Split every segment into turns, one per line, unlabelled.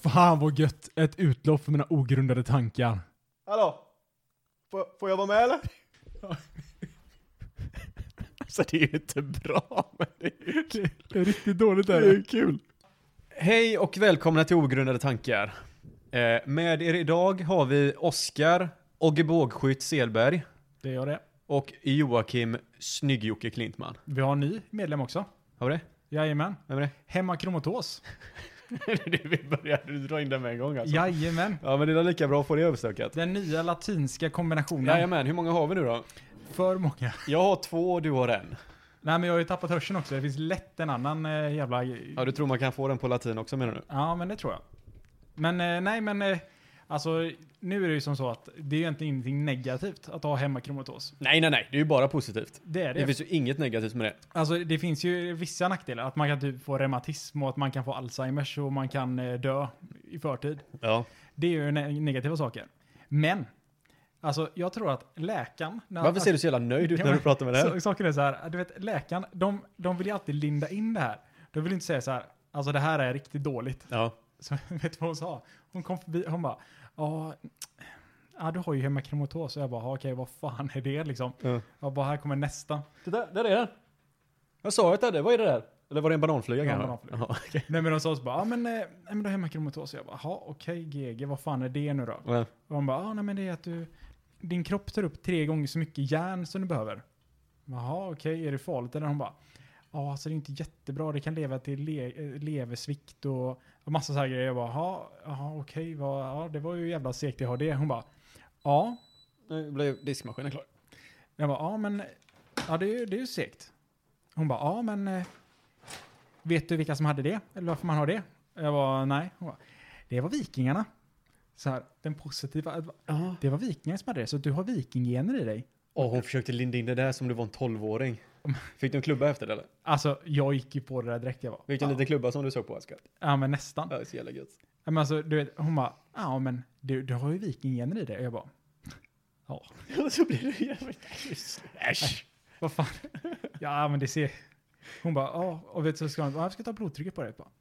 Fan vad gött. Ett utlopp för mina ogrundade tankar.
Hallå? Får, får jag vara med eller?
Alltså det är ju inte bra, men det är ju kul.
Det är riktigt dåligt
Det är ju kul. Hej och välkomna till Ogrundade tankar. Eh, med er idag har vi Oskar Oggebågskytt Selberg
Det gör det.
och Joakim Snygg-Jocke Klintman.
Vi har en ny medlem också.
Har vi det?
Jajamän.
Vem är det?
Hemmakromatos.
det vi började dra in den med en gång alltså. Ja,
Jajamän.
ja men det är lika bra att få det överstökat.
Den nya latinska kombinationen.
Jajamän, hur många har vi nu då?
För många.
Jag har två och du har en.
Nej men jag har ju tappat hörseln också. Det finns lätt en annan eh, jävla...
Ja, du tror man kan få den på latin också menar du?
Ja, men det tror jag. Men eh, nej, men eh, alltså nu är det ju som så att det är ju egentligen ingenting negativt att ha hemmakromatos.
Nej, nej, nej, det är ju bara positivt.
Det är det.
Det finns ju inget negativt med det.
Alltså det finns ju vissa nackdelar. Att man kan typ få reumatism och att man kan få Alzheimers och man kan eh, dö i förtid.
Ja.
Det är ju ne- negativa saker. Men, alltså jag tror att läkaren... När,
Varför ser du så jävla nöjd ut
Ja,
när du
men-
pratar med det här?
Så, saken är så här, eh, du vet läkaren, de, de vill ju alltid linda in det här. De vill inte säga så här, alltså det här är riktigt dåligt.
Ja.
Så vet du vad hon sa? Hon kom förbi, hon bara, ja, ja du har ju hemakromatos. Och jag bara, "Ja, okej vad fan är det liksom?
Ja.
Jag bara, här kommer nästa.
Titta, där är den. Jag sa ju att det hade, vad är det där? Eller var det en bananfluga
Ja,
kanske?
bananfluga.
Ja, okej.
Nej men de sa så bara, ja men, eh, nej, men du har hemakromatos. Jag bara, jaha okej GG, vad fan är det nu då?
Ja.
Och hon bara, ja nej men det är att du, din kropp tar upp tre gånger så mycket järn som du behöver. Jaha okej, är det farligt eller? Hon bara, ja alltså det är inte jättebra, det kan leda till le, eh, leversvikt och, och massa så här grejer. Jag bara, jaha, jaha okej, vad, ja, det var ju jävla segt att ha det. Hon bara, ja.
Nu blev diskmaskinen klar.
Jag bara, ja men, ja det är ju, det är ju segt. Hon bara, ja men, eh, vet du vilka som hade det? Eller varför man har det? Jag var nej. Hon bara, det var vikingarna. Så här, den positiva,
Ja.
det var vikingar som hade det, så du har vikinggener i dig.
Och hon försökte linda in det där som du var en tolvåring. Fick du en klubba efter det eller?
Alltså, jag gick ju på det där direkt jag var.
Fick du en
ja,
liten klubba som du såg på Oskar?
ja, men nästan.
Ja, det är så jävla gött.
Ja, Men alltså, du vet, hon bara, ja men, du, du har ju vikinggener i dig. Och jag bara, ja,
Och så blir det jävligt... Äsch!
vad fan. ja, men det ser... Hon bara, ja, och vet du så ska hon, "Ja, jag ska ta blodtrycket på dig. Jag bara,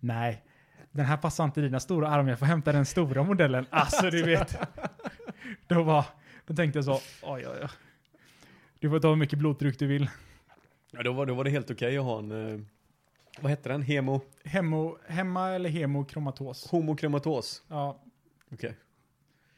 Nej, den här passar inte i dina stora armar, jag får hämta den stora modellen. Alltså du vet. Då var, då tänkte jag så, oj oj oj. Du får ta hur mycket blodtryck du vill.
Ja, då var, då var det helt okej att ha en... Eh, vad hette den? Hemo...
Hemo, hemma eller hemokromatos?
Homokromatos.
Ja,
Okej.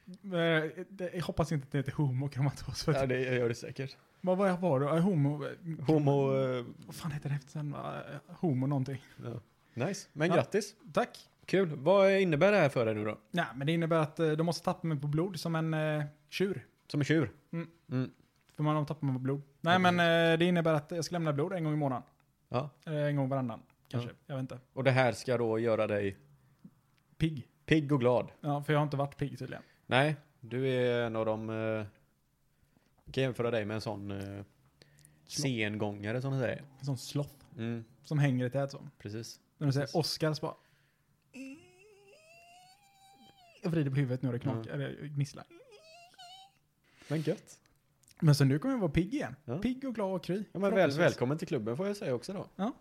eh, det- jag hoppas inte att det heter homokromatos.
Ja,
Ja.
det jag gör det säkert.
Vad var jag var då? Eh, Homo... eh,
Homo... Eh,
Vad fan heter det efter sen? va? Eh, Homo någonting.
ja. Nice. Men
Ja.
grattis.
Tack.
Kul. Vad innebär det här för dig nu då?
Nej, men det innebär att eh, de måste tappa mig på blod som en eh, tjur.
Som en tjur?
Mm.
Mm.
För man har tappat mig på blod. Nej,
Ja,
men eh, det innebär att jag ska lämna blod en gång i månaden.
Mm. Ja.
Eller en gång varannan, kanske. Jag vet inte.
Och det här ska då göra dig
Pigg.
pigg och glad?
Ja, för jag har inte varit pigg tydligen.
Nej, du är en av de... Eh, kan jämföra dig med en sån eh, sengångare som man säger.
En sån sloth
Mm,
som hänger i tät så.
precis.
När de
Precis.
säger Oscar så bara... Jag vrider på huvudet nu och det knakar, eller gnisslar.
Men gött.
Men så nu kommer jag vara pigg igen.
Ja.
Pigg och glad och kry.
Ja, men väl, välkommen till klubben får jag säga också då.
Känner man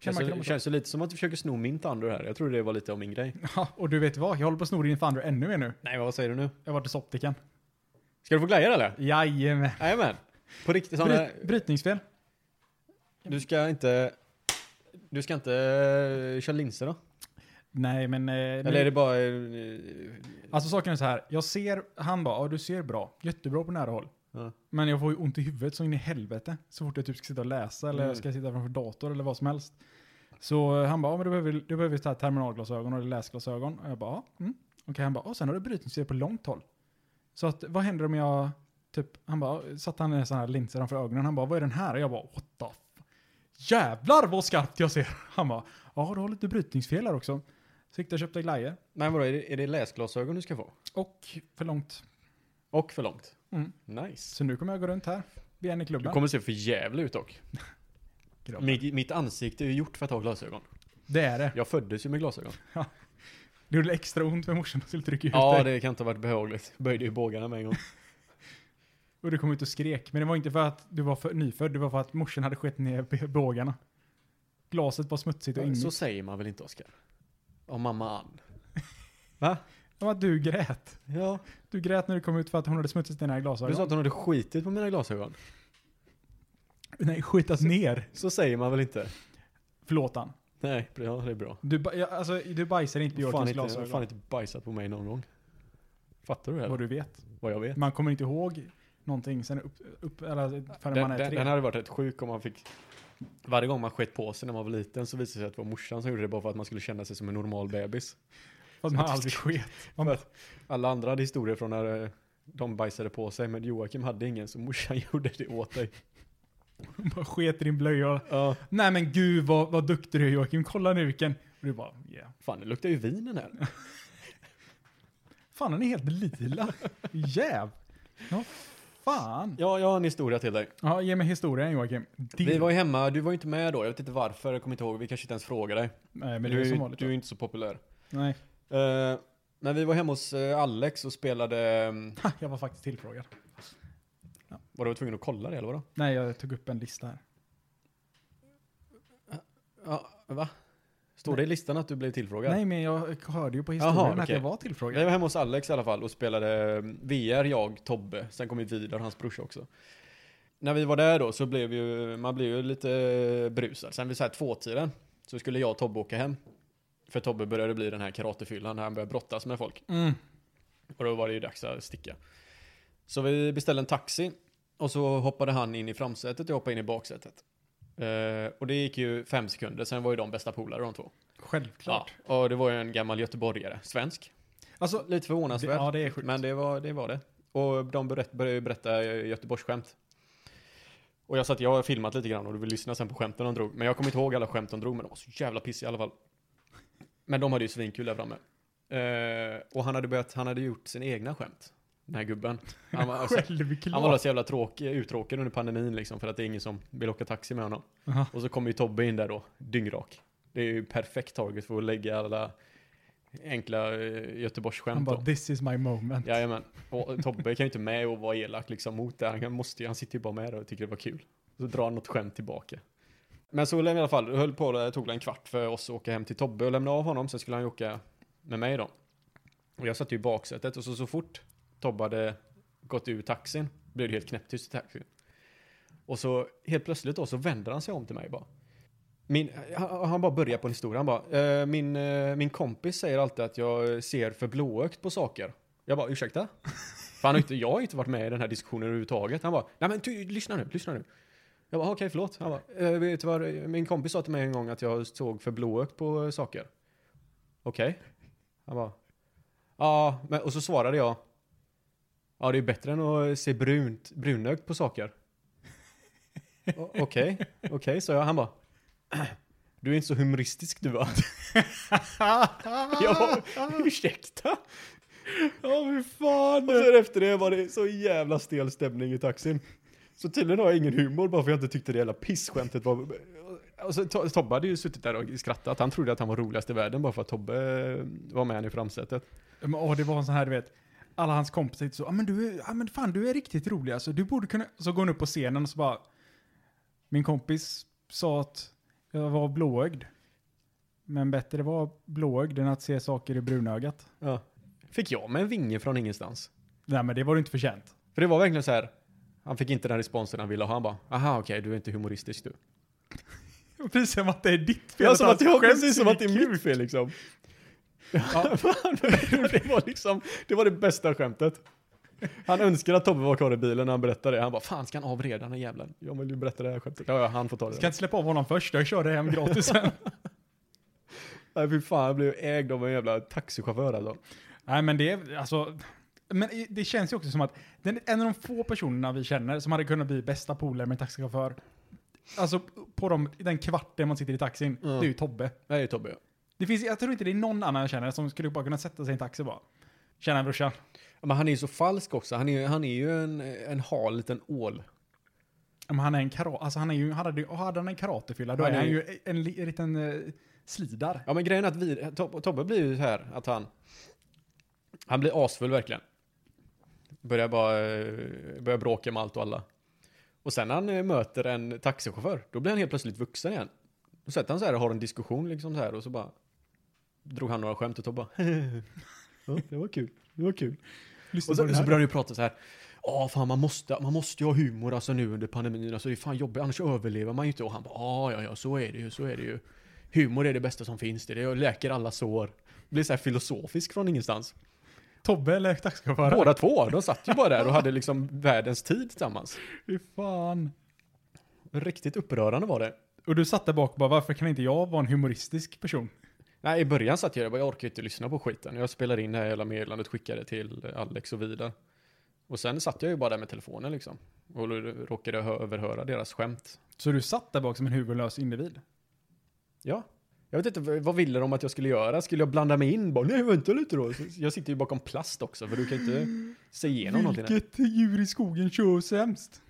Känns,
kram-
känns ju lite som att du försöker sno min Thunder här. Jag trodde det var lite av min grej.
Ja, och du vet vad? Jag håller på att sno din Thunder ännu mer nu.
Nej, men vad säger du nu?
Jag har varit hos optikern.
Ska du få glajjor eller?
Jajamän.
Jajamän. På riktigt sån
Bryt,
där,
brytningsfel.
Du ska inte... Du ska inte eh, köra linser då?
Nej, men... Eh, nu-
Eller är det bara... eh,
Alltså saken är så här. Jag ser, han bara, ja du ser bra. Jättebra på nära håll.
Ja.
Men jag får ju ont i huvudet så in i helvete. Så fort jag typ ska sitta och läsa eller
Mm.
ska sitta framför dator eller vad som helst. Så eh, han bara, ja men du behöver, du behöver ta terminalglasögon eller läsglasögon. Och jag bara, ja. Mm. Okej, han bara, och sen har du brytningsfel på långt håll. Så att, vad händer om jag, typ, han bara, satte han en sån här linser framför ögonen. Han bara, vad är den här? Och jag bara, what the f- Jävlar vad skarpt jag ser! Han bara, ja du har lite brytningsfel här också. Så gick jag och köpte glajjor.
Men vadå, är det, är det läsglasögon du ska få?
Och för långt
Och för långt?
Mm.
Nice.
Så nu kommer jag gå runt här. Vi är en i
Du
klubben.
kommer se för jävla ut dock.
Grabbar.
Mitt, mitt ansikte är ju gjort för att ha glasögon.
Det är det.
Jag föddes ju med glasögon.
Det gjorde extra ont för morsan att skulle trycka ut
Ja,
dig.
det kan inte ha varit behagligt. Böjde ju bågarna med en gång.
Och du kom ut och skrek. Men det var inte för att du var för nyfödd, det var för att morsan hade skett ner b- bågarna. Glaset var smutsigt och
Så
inget.
säger man väl inte, Oskar? av mamma Ann.
Det var att du grät.
Ja.
Du grät när du kom ut för att hon hade smutsat dina glasögon.
Du sa att hon hade skitit på mina glasögon.
Nej, skitas ner.
Så säger man väl inte?
Förlåt han.
Nej, ja, det är bra.
Du, ba- ja, alltså, du bajsar inte
Hon fan
Björkens
inte, hon fan
glasögon.
inte bajsat på mig någon gång. Fattar du det?
Vad
Vad,
du vet.
vad jag vet.
Man kommer inte ihåg någonting sen upp, upp eller förrän
Den,
man är
den,
tre.
den hade varit rätt sjuk om man fick... Varje gång man skett på sig när man var liten så visade det sig att det var morsan som gjorde det bara för att man skulle känna sig som en normal bebis.
Fast man aldrig sket. Man bara,
Alla andra hade historier från när eh, de bajsade på sig men Joakim hade ingen så morsan gjorde det åt dig.
bara sket i din blöja.
Ja.
Nej men gud vad, vad duktig du är Joakim, kolla nu vilken... Och du bara, yeah.
Fan, det luktar ju vin i den här.
Fan den är helt lila. Jäv. Ja, fan.
Ja, jag har en historia till dig.
Ja, ge mig historien Joakim. Din.
Vi var ju hemma, du var ju inte med då, jag vet inte varför, jag kommer inte ihåg, vi kanske inte ens frågade dig.
Nej men det
du,
är
ju-
som vanligt.
du är ju inte så populär.
Nej,
Eh, när vi var hemma hos eh, Alex och spelade, ehm,
ha, jag var faktiskt tillfrågad.
var du tvungen att kolla det eller vadå?
Nej, jag tog upp en lista här.
Ja, va? Står det i listan att du blev tillfrågad?
Nej men jag hörde ju på historien
Jaha,
att
okej.
jag var
Vi
tillfrågad.
var hemma hos Alex i alla fall och spelade eh, VR, jag, Tobbe. Sen kom ju Vidar, hans brorsa också. När vi var där då så blev ju, man blev ju lite eh, brusad. Sen vid så här tvåtiden så skulle jag och Tobbe åka hem. För Tobbe började bli den här karatefyllan, han började brottas med folk.
Mm.
Och då var det ju dags att sticka. Så vi beställde en taxi. Och så hoppade han in i framsätet och jag hoppade in i baksätet. Eh, och det gick ju fem sekunder, sen var ju de bästa polare de två.
Självklart.
Ja, och det var ju en gammal göteborgare, svensk.
Alltså,
Lite
det,
förvånansvärt.
ja det är sjukt.
Men det var, det var det. Och de berätt, började ju berätta eh, Göteborgsskämt. Och jag satt, jag har filmat lite grann och du vill lyssna sen på skämten de drog. Men jag kommer inte ihåg alla skämt de drog, men de var så jävla pissiga i alla fall. Men de hade ju svinkul där framme. Eh, och han hade börjat, han hade gjort sina egna skämt. Den här gubben. Han var, alltså, han var
Självklart.
så jävla tråkig, uttråkig under pandemin liksom, för att det är ingen som vill åka taxi med honom.
Jaha.
Och så kommer ju Tobbe in där då, dyngrak. Det är ju perfekt target för att lägga alla enkla eh,
Han
Göteborgsskämt då.
bara, this is my moment.
Jajamän. Och Tobbe kan ju inte med och vara elak liksom mot det. Han, kan- måste, ju- han sitter ju bara med där och tycker det var kul. Så drar han något skämt tillbaka. Men så lämnade i alla fall, höll på, det tog en kvart för oss att åka hem till Tobbe och lämna av honom. Sen skulle han ju åka med mig då. Och jag satt ju i baksätet och så, så fort Tobbe hade gått ur taxin blev det helt knäpptyst i taxin. Och så helt plötsligt då så vänder han sig om till mig bara. Min, han, han bara börjar på en historia. Han bara, eh, min, eh, min kompis säger alltid att jag ser för blåögt på saker. Jag bara, ursäkta? För han har inte, jag har inte varit med i den här diskussionen överhuvudtaget. Han bara, nej men ty, lyssna nu, lyssna nu. Jag bara, okej förlåt. Han bara, eh, vet du vad, min kompis sa till mig en gång att jag såg för blåögt på eh, saker. Okej. Han bara, ja, men, och så svarade jag, ja det är bättre än att se brunt, brunögt på saker. O- Okej, okej, sa jag. Han bara, du är inte så humoristisk du va? jag bara, ursäkta? Ja, fy fan. Och sen efter det var det så jävla stel stämning i taxin. Så tydligen har jag ingen humor bara för jag inte tyckte det jävla pissskämtet var... Och så To- Tobbe hade ju suttit där och skrattat. Han trodde att han var roligast i världen bara för att Tobbe eh, var med i framsätet.
Men, åh, det var en sån här, du vet. Alla hans kompisar så, ja ah, men du är, ah, men fan du är riktigt rolig alltså, du borde kunna, så går han upp på scenen och så bara, min kompis sa att jag var blåögd. Men bättre var blåögd än att se saker i brunögat.
Ja. Fick jag med en vinge från ingenstans?
Nej men det var du inte förtjänt.
För det var verkligen så här. Han fick inte den responsen han ville ha. Han bara, aha okej, du är inte humoristisk du.
Precis som att det är ditt fel.
Ja, som
han
att jag,
skäms
precis som
så
att det är mitt fel liksom. Ja. Fan, det var liksom, det var det bästa skämtet. Han önskar att Tobbe var kvar i bilen när han berättade det. Han bara, fan ska han av redan den jävlen? Jag vill ju berätta det här skämtet. Ja, ja, han får ta det.
Ska inte släppa av honom först, jag kör det hem gratis sen.
Nej, fy fan, jag blev ägd av en jävla taxichaufför alltså.
Nej men det är, alltså, men i- det känns ju också som att den, en av de få personerna vi känner som hade kunnat bli bästa polare med en taxichaufför, alltså på de, i den kvarten man sitter i taxin,
Mm.
det är ju Tobbe.
Nej, Tobbe.
Det finns, jag tror inte det är någon annan jag känner som skulle bara kunna sätta sig i en taxi och bara, tjena brorsan.
Men han är ju så falsk också. Han är, han är ju en, en hal liten ål.
Men han är en karat, alltså han är ju, hade, och hade han en karatefylla då
Han
är
är
han
ju-
ju en, li- en liten eh, slidar.
Ja men grejen är att vi, Tob- Tobbe blir ju så här att han Han blir asfull verkligen Börjar bara eh, Börjar bråka med allt och alla Och sen när han eh, möter en taxichaufför Då blir han helt plötsligt vuxen igen Då sätter han sig här och har en diskussion liksom så här och så bara drog han några skämt och Tobbe bara, ja, det var kul, det var kul.
Lyssna
Och
på den
så, så
här.
började vi prata så här. Ja, fan man måste, man måste ju ha humor alltså nu under pandemin. Alltså det är fan jobbigt, annars överlever man ju inte. Och han bara, ja, ja, ja, så är det ju, så är det ju. Humor är det bästa som finns, det, är det och läker alla sår. Blir så här filosofisk från ingenstans.
Tobbe eller taxichauffören?
Båda två, de satt ju bara där och hade liksom världens tid tillsammans.
Fy fan.
Riktigt upprörande var det.
Och du satt där bak och bara, varför kan inte jag vara en humoristisk person?
Nej, i början satt jag där, jag bara, jag orkar ju inte lyssna på skiten. Jag spelade in det här hela meddelandet, skickade till Alex och vidare. Och sen satt jag ju bara där med telefonen liksom. Och råkade hö- överhöra deras skämt.
Så du satt där bak som en huvudlös individ?
Ja. Jag vet inte, v- vad ville de att jag skulle göra? Skulle jag blanda mig in? Bara, nej, vänta lite då. Så Jag sitter ju bakom plast också, för du kan inte se igenom någonting. där.
Vilket djur i skogen kör sämst?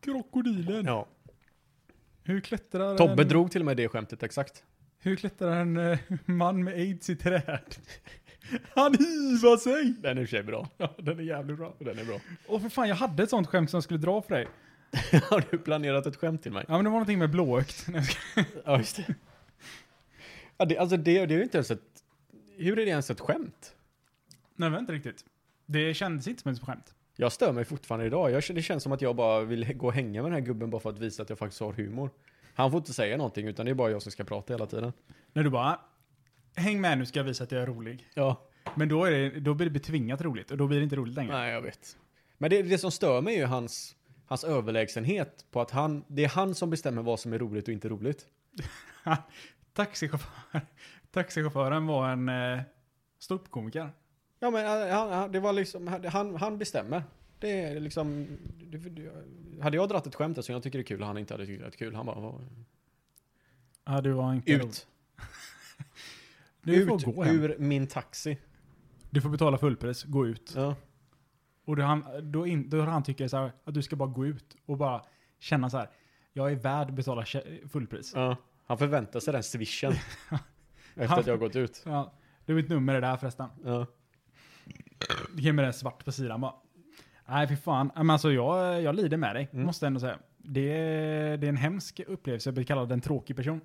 Krokodilen.
Ja.
Hur klättrar
Tobbe
en,
drog till och med det skämtet exakt.
Hur klättrar en eh, man med aids i träd? Han hivar sig!
Den är i och för sig bra.
Ja, den är jävligt bra.
Den är bra.
Och för fan, jag hade ett sånt skämt som jag skulle dra för dig.
Har du planerat ett skämt till mig?
Ja, men det var någonting med blåögt. Nej, jag ska-
Ja, just det. Ja, det alltså det, det är ju inte ens ett... Hur är det ens ett skämt?
Nej, vänta riktigt. Det kändes inte som ett skämt.
Jag stör mig fortfarande idag. Jag, det känns som att jag bara vill gå och hänga med den här gubben bara för att visa att jag faktiskt har humor. Han får inte säga någonting, utan det är bara jag som ska prata hela tiden.
När du bara, häng med nu ska jag visa att jag är rolig.
Ja,
Men då, är det, då blir det betvingat roligt och då blir det inte roligt längre.
Nej, jag vet. Men det, det som stör mig är ju hans, hans överlägsenhet på att han, det är han som bestämmer vad som är roligt och inte roligt.
Taxichaufför, taxichauffören var en eh, ståuppkomiker.
Ja, men eh, han, han, det var liksom, han- han, han bestämmer. Det är liksom, det, det, hade jag dratt ett skämt där som jag tycker är kul och han inte hade tyckt det var kul, han bara, "Vad-
Ja, du var inte rolig.
ut,
Du
ut
får gå hem.
ur min taxi.
Du får betala fullpris, gå ut.
Ja.
Och då han, då in, då han tycker så här, att du ska bara gå ut och bara känna så här, jag är värd att betala kä- fullpris.
Ja. Han förväntar sig den swishen. efter
Han-
att jag har gått ut.
Ja, du mitt nummer är där förresten.
Ja.
Ge mig det svart på sidan bara. Nej, för fan. Ja, Men alltså, jag, jag lider med dig,
Mm.
måste jag ändå säga. Det, är- det är en hemsk upplevelse att bli kallad en tråkig person.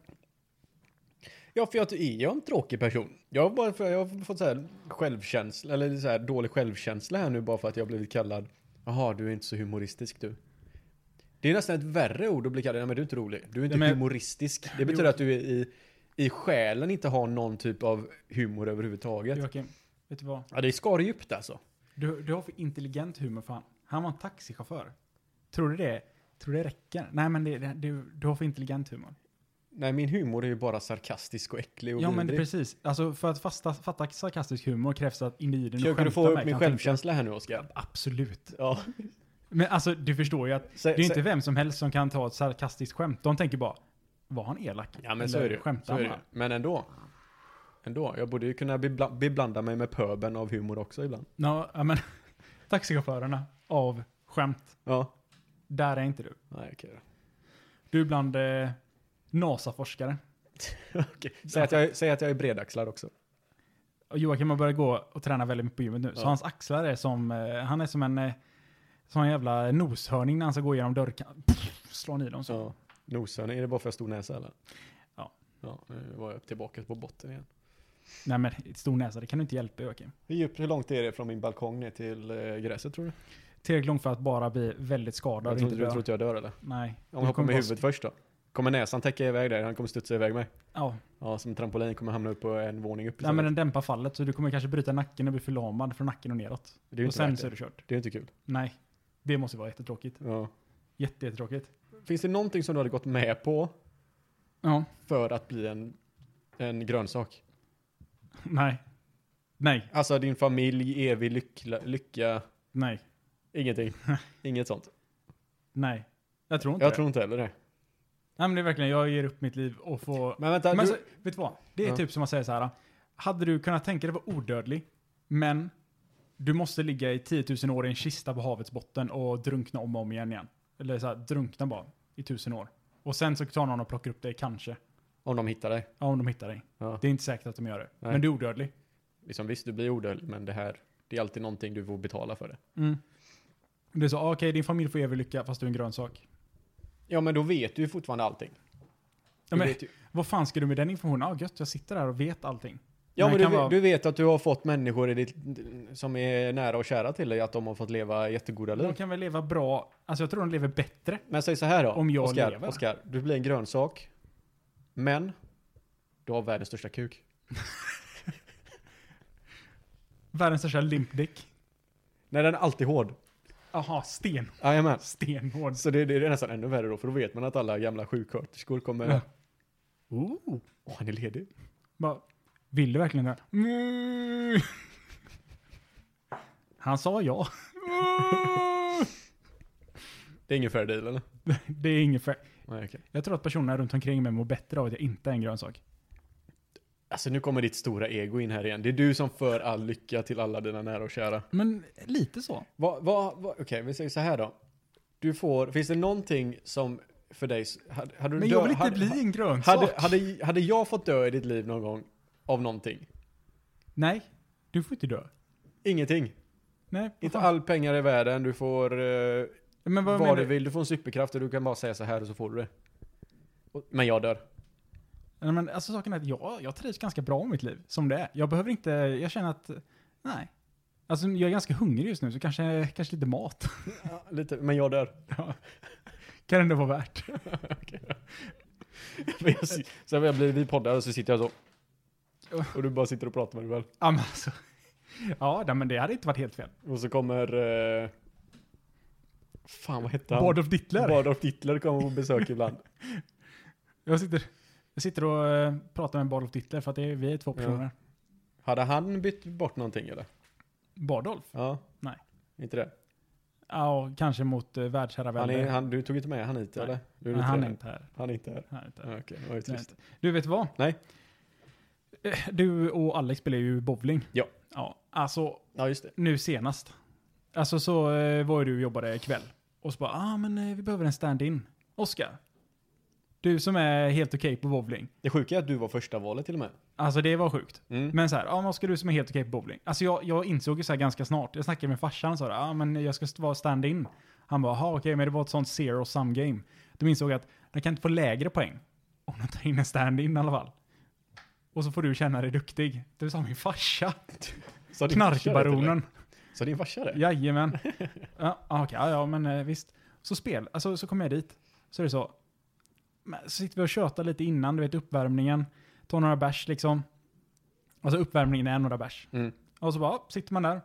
Ja, för jag är jag en tråkig person. Jag har, bara, jag har fått så här självkänsla, eller så här dålig självkänsla här nu bara för att jag har blivit kallad Jaha, du är inte så humoristisk du. Det är nästan ett värre ord att bli kallad, nej men du är inte rolig. Du är inte
Nej, men-
humoristisk. Det betyder att du är i, i själen inte har någon typ av humor överhuvudtaget.
Joakim, vet du vad?
Ja, det är skardjupt alltså.
Du, du har för intelligent humor fan. Han var en taxichaufför. Tror du det? Tror du det räcker? Nej men det, det, du, du har för intelligent humor.
Nej, min humor är ju bara sarkastisk och äcklig och
Ja men det,
vidrig.
precis. Alltså för att fasta, fatta sarkastisk humor krävs att individen
Försöker
skämtar
du få upp
med,
min
kan tänka-
självkänsla här nu, Oskar?
Absolut.
Ja.
Men alltså du förstår ju att
Sä,
det är ju inte
sä,
vem som helst som kan ta ett sarkastiskt skämt. De tänker bara, var han elak?
ja, men så är det ju. Så
Skämtar
är det.
han
ju.
bara?
Men ändå. Ändå. Jag borde ju kunna bebla- beblanda mig med pöben av humor också ibland.
Nå, ja, men taxichaufförerna av skämt.
Ja.
Där är inte du.
Nej, okej då.
Du är bland eh, NASA-forskare.
Okej. Säg, att jag, är- säg att jag är bredaxlad också.
Och Joakim har börjat gå och träna väldigt mycket på gymmet nu. Så
Ja.
hans axlar är som, eh, han är som en eh, som en jävla noshörning när han ska gå igenom dörrkanten. Slår i dem så.
Ja. Nosen, är det bara för att jag har stor näsa eller?
Ja.
Ja, nu var jag tillbaka på botten igen.
Nej men, stor näsa, det kan du inte hjälpa Joakim.
Hur, djupt, hur långt är det från min balkong ner till eh, gräset tror du?
Tillräckligt långt för att bara bli väldigt skadad
Jag
och
tror
inte
inte du
dö.
tror att jag dör eller?
Nej.
Om
Du
jag hoppar
kommer
med
bara-
huvudet först då? Kommer näsan täcka iväg där? Han kommer studsa iväg mig.
Ja.
Ja, som en trampolin kommer jag hamna upp på en våning upp.
Nej
istället.
men den dämpar fallet så du kommer kanske bryta nacken och bli förlamad från nacken och neråt.
det är ju
och
inte
sen
värt
så är
det.
du kört.
Det är ju inte kul.
Nej. Det måste vara jättetråkigt.
Ja.
Jätte, jättetråkigt.
Finns det någonting som du hade gått med på
Ja.
för att bli en, en grönsak?
Nej. Nej.
Alltså din familj, evig lyckla, lycka,
Nej.
ingenting. Inget sånt.
Nej. Jag tror inte
Jag
det.
tror inte heller det.
Nej men det är verkligen, jag ger upp mitt liv och får
Men vänta,
Men alltså-
du,
så, vet du vad? Det är
Ja.
typ som att säga så här. Hade du kunnat tänka dig vara odödlig, men du måste ligga i 10 000 år i en kista på havets botten och drunkna om och om igen igen. Eller så här, drunkna bara i tusen år. Och sen så tar någon och plockar upp dig, kanske.
om de hittar dig.
Ja, om de hittar dig.
Ja.
Det är inte säkert att de gör det.
Nej.
Men du är odödlig.
Liksom, visst, du blir odödlig, men det här, det är alltid någonting du får betala för det.
Mm. Det är så, ah, okej, din familj får evig lycka fast du är en grönsak.
Ja, men då vet du ju fortfarande allting.
Ja,
Du
men,
vet ju,
vad fan ska du med den informationen? Ja, ah, gött, jag sitter där och vet allting.
Ja,
Men
men
det
du,
kan vara-
du vet att du har fått människor i ditt, som är nära och kära till dig, att de har fått leva jättegoda
De
liv.
kan väl leva bra, alltså jag tror de lever bättre.
Men säg så här då,
Om jag
Oskar,
lever.
Oskar, du blir en grönsak, men du har världens största kuk.
Världens största limpdick.
Nej, den är alltid hård.
Aha, sten.
Jajamän.
Stenhård.
Så det, det är nästan ännu värre då, för då vet man att alla gamla sjuksköterskor kommer...
Ja.
Åh, han är ledig.
Bara, vill du verkligen det? här? Mm. Han sa ja. Mm.
Det är ingen fair deal, eller?
Det är inget för...
Nej, okej.
Jag tror att personerna runt omkring mig mår bättre av att jag inte är en grönsak.
Alltså, nu kommer ditt stora ego in här igen. Det är du som för all lycka till alla dina nära och kära.
Men lite så.
Vad, vad, vad, okej, vi säger så här då. Du får, finns det någonting som för dig, s- hade, hade du
Men
dö-
jag vill inte
hade,
bli en grönsak.
hade, hade, hade jag fått dö i ditt liv någon gång av någonting?
Nej, du får inte dö.
Ingenting.
Nej,
Inte
fan.
all pengar i världen, du får eh,
Men vad
vad,
menar
du
du?
vill, du får en superkraft och du kan bara säga så här och så får du det. Och, men jag dör.
Nej, men alltså saken är att jag, jag trivs ganska bra med mitt liv som det är. Jag behöver inte, jag känner att, nej. Alltså jag är ganska hungrig just nu så kanske, kanske lite mat
Ja, lite, men jag dör.
kan det ändå vara värt.
Men jag si- Sen jag blir, vi poddar och så sitter jag så. Och du bara sitter och pratar med dig själv.
Ja men alltså. Ja, nej, men det hade inte varit helt fel.
Och så kommer... Eh, fan vad hette han?
Båda of Dittler.
Bard of Hitler kommer på besök ibland.
Jag, sitter, jag sitter och eh, pratar med Bardolf Dittler för att det är, vi är två
Ja.
personer.
Hade han bytt bort någonting eller?
Bardolf?
Ja.
Nej.
Inte det?
Ja, och kanske mot uh,
Han är,
världsherravälde.
han, du tog inte med han hit
Nej.
eller? Du
Men han är
här.
inte här.
han är inte här.
Han är inte här.
Ja, Okej, det var ju trist.
Du vet vad?
Nej.
Eh, Du och Alex spelar ju bowling.
Ja.
Ja, alltså
Ja, just det.
nu senast. Alltså så eh, var ju du och jobbade kväll. Och så bara, ah men eh, vi behöver en stand-in. Oskar. Du som är helt okej på bowling.
Det sjuka är att du var första valet till och med.
Alltså det var sjukt.
Mm.
Men så här, ja ah, men Oskar du som är helt okej på bowling. Alltså jag, jag insåg ju så här ganska snart. Jag snackade med farsan och sa, ah men jag ska vara stand-in. Han bara, jaha okej men det var ett sånt zero sum game. De insåg att de kan inte få lägre poäng. Om de tar in en stand-in i alla fall. Och så får du känna dig duktig. Det sa min farsa.
Sa din farsa det till dig?
Knarkbaronen.
Sa din farsa det?
Jajamän. Ja, ah, okej, ja, ja, men eh, visst. Så spel, alltså så kommer jag dit. Så är det så. Men, så sitter vi och tjötar lite innan, du vet uppvärmningen. Tar några bärs liksom. Alltså uppvärmningen är några bärs.
Mm.
Och så bara, ah, sitter man där.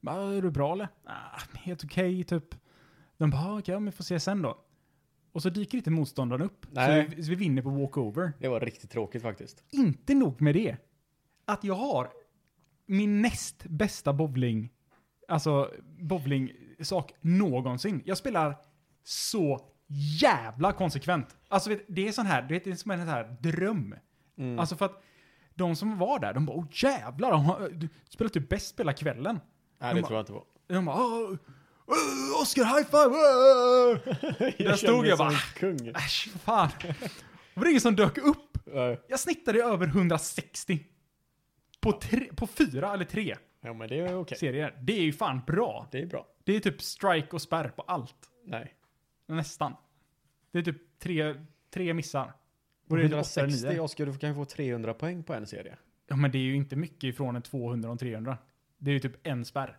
Bara, är du bra eller? Ah, helt okej, typ. De bara, ah, okej, ja, men vi får se sen då. Och så dyker inte motståndaren upp.
Nej.
Så vi, så vi vinner på walkover.
Det var riktigt tråkigt faktiskt.
Inte nog med det. Att jag har min näst bästa bowling, alltså bowling-sak någonsin. Jag spelar så jävla konsekvent. Alltså vet, det är sån här, du vet, det är som en sån här dröm.
Mm.
Alltså för att de som var där, de bara åh jävlar, de har, du spelar typ bäst hela kvällen.
Nej, det tror jag inte på.
De bara åh, åh, Oscar high five! åh!"
jag
stod
kände mig
jag
som
bara-
en Kung.
Äsch, fan. Det var ingen som dök upp.
Nej.
Jag snittade över 160. På, tre, på fyra eller tre
Ja, men det är okej.
serier. Det är ju fan bra.
Det är bra.
Det är typ strike och spärr på allt.
Nej.
Nästan. Det är typ tre, tre missar. Och det är typ åtta eller
160,
nio.
Oskar, du kan ju få 300 poäng på en serie.
Ja men det är ju inte mycket ifrån en 200 och en 300. Det är ju typ en spärr.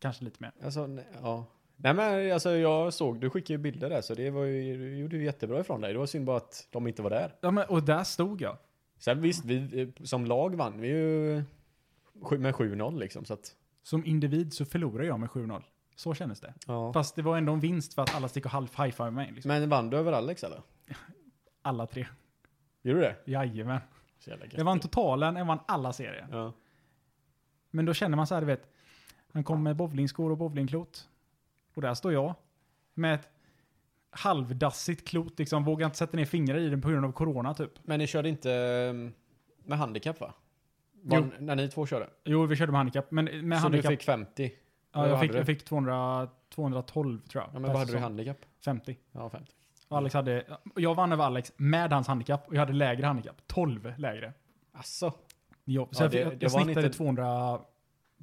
Kanske lite mer.
Alltså, ne- ja. Nej men alltså jag såg, du skickade ju bilder där så det var ju, du gjorde ju jättebra ifrån dig. Det var synd bara att de inte var där.
Ja men och där stod jag.
Sen visst, vi, eh, som lag vann vi ju sju- med 7-0 liksom så att.
Som individ så förlorade jag med 7-0. Så kändes det.
Ja.
Fast det var ändå en vinst för att alla sticker halv high five mig. Liksom.
Men vann du över Alex eller?
Alla tre.
Gjorde du det?
Jajamän.
Så jävla gött.
Jag vann totalen, jag vann alla serier.
Ja.
Men då känner man så här, du vet. Han kom med bowlingskor och bowlingklot. Och där står jag. Med ett halvdassigt klot, liksom. Vågar inte sätta ner fingrar i den på grund av corona, typ.
Men ni körde inte eh, med handikapp va? Var,
Jo.
När ni två körde?
Jo, vi körde med handikapp, men med
så
handikapp...
du fick 50?
ja,
vad
jag
hade
fick,
du?
jag fick 200, 212, tror jag.
Ja men vad
Per
hade du i
säsong.
handikapp?
50.
Ja 50.
Och Alex hade... Jag vann över Alex med hans handikapp, och jag hade lägre handikapp. 12 lägre.
Alltså,
Jo, så
Ja,
jag,
det-
fick- jag,
det
jag
var han
snittade
inte-
200,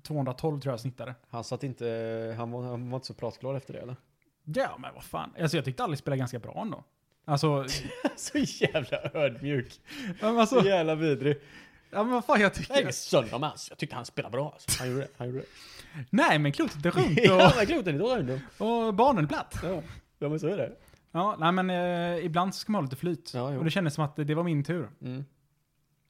212, tror jag jag snittade.
han satt inte, han var, han var inte så pratglad efter det eller?
Ja, men vad fan. Alltså, jag tyckte Alex spelade ganska bra ändå. Alltså...
så jävla ödmjuk.
Ja, men alltså
Så jävla vidrig.
Ja men vad fan jag tycker.
Jag
Nej,
är ingen sönder med hans. Jag tyckte han spelade bra alltså. Han gjorde det. Han gjorde det.
men klotet är
Ja,
runt
men kloten är dålig.
och, och barnen är platt.
Ja, ja men så är det.
Ja, nej men eh, ibland så ska man ha lite flyt.
Ja, jo.
och det kändes som att det, det var min tur.
Mm.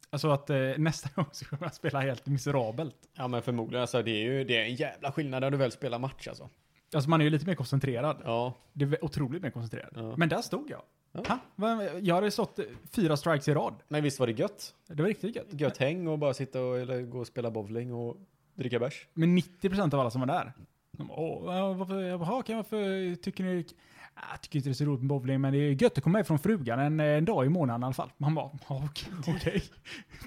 Alltså att eh, nästa gång så kommer jag spela helt miserabelt.
Ja men förmodligen, alltså, det är ju det är en jävla skillnad när du väl spelar match alltså.
Alltså man är ju lite mer koncentrerad.
Ja,
Det är otroligt mer koncentrerad.
Ja.
Men där stod jag.
Ja.
Ha, vad- jag hade stått eh, fyra strikes i rad.
men visst var det gött?
Det var riktigt gött.
Gött häng och bara sitta och eller, gå och spela bowling och dricka bärs.
Men 90% av alla som var där, de bara, Åh, ja, varför, jag bara, "Ja, okej, varför tycker ni... "Ah, Jag tycker inte det är så roligt med bowling, men det är gött att komma ifrån frugan en, en dag i månaden i alla fall. Man bara, "Ja, okej. okej."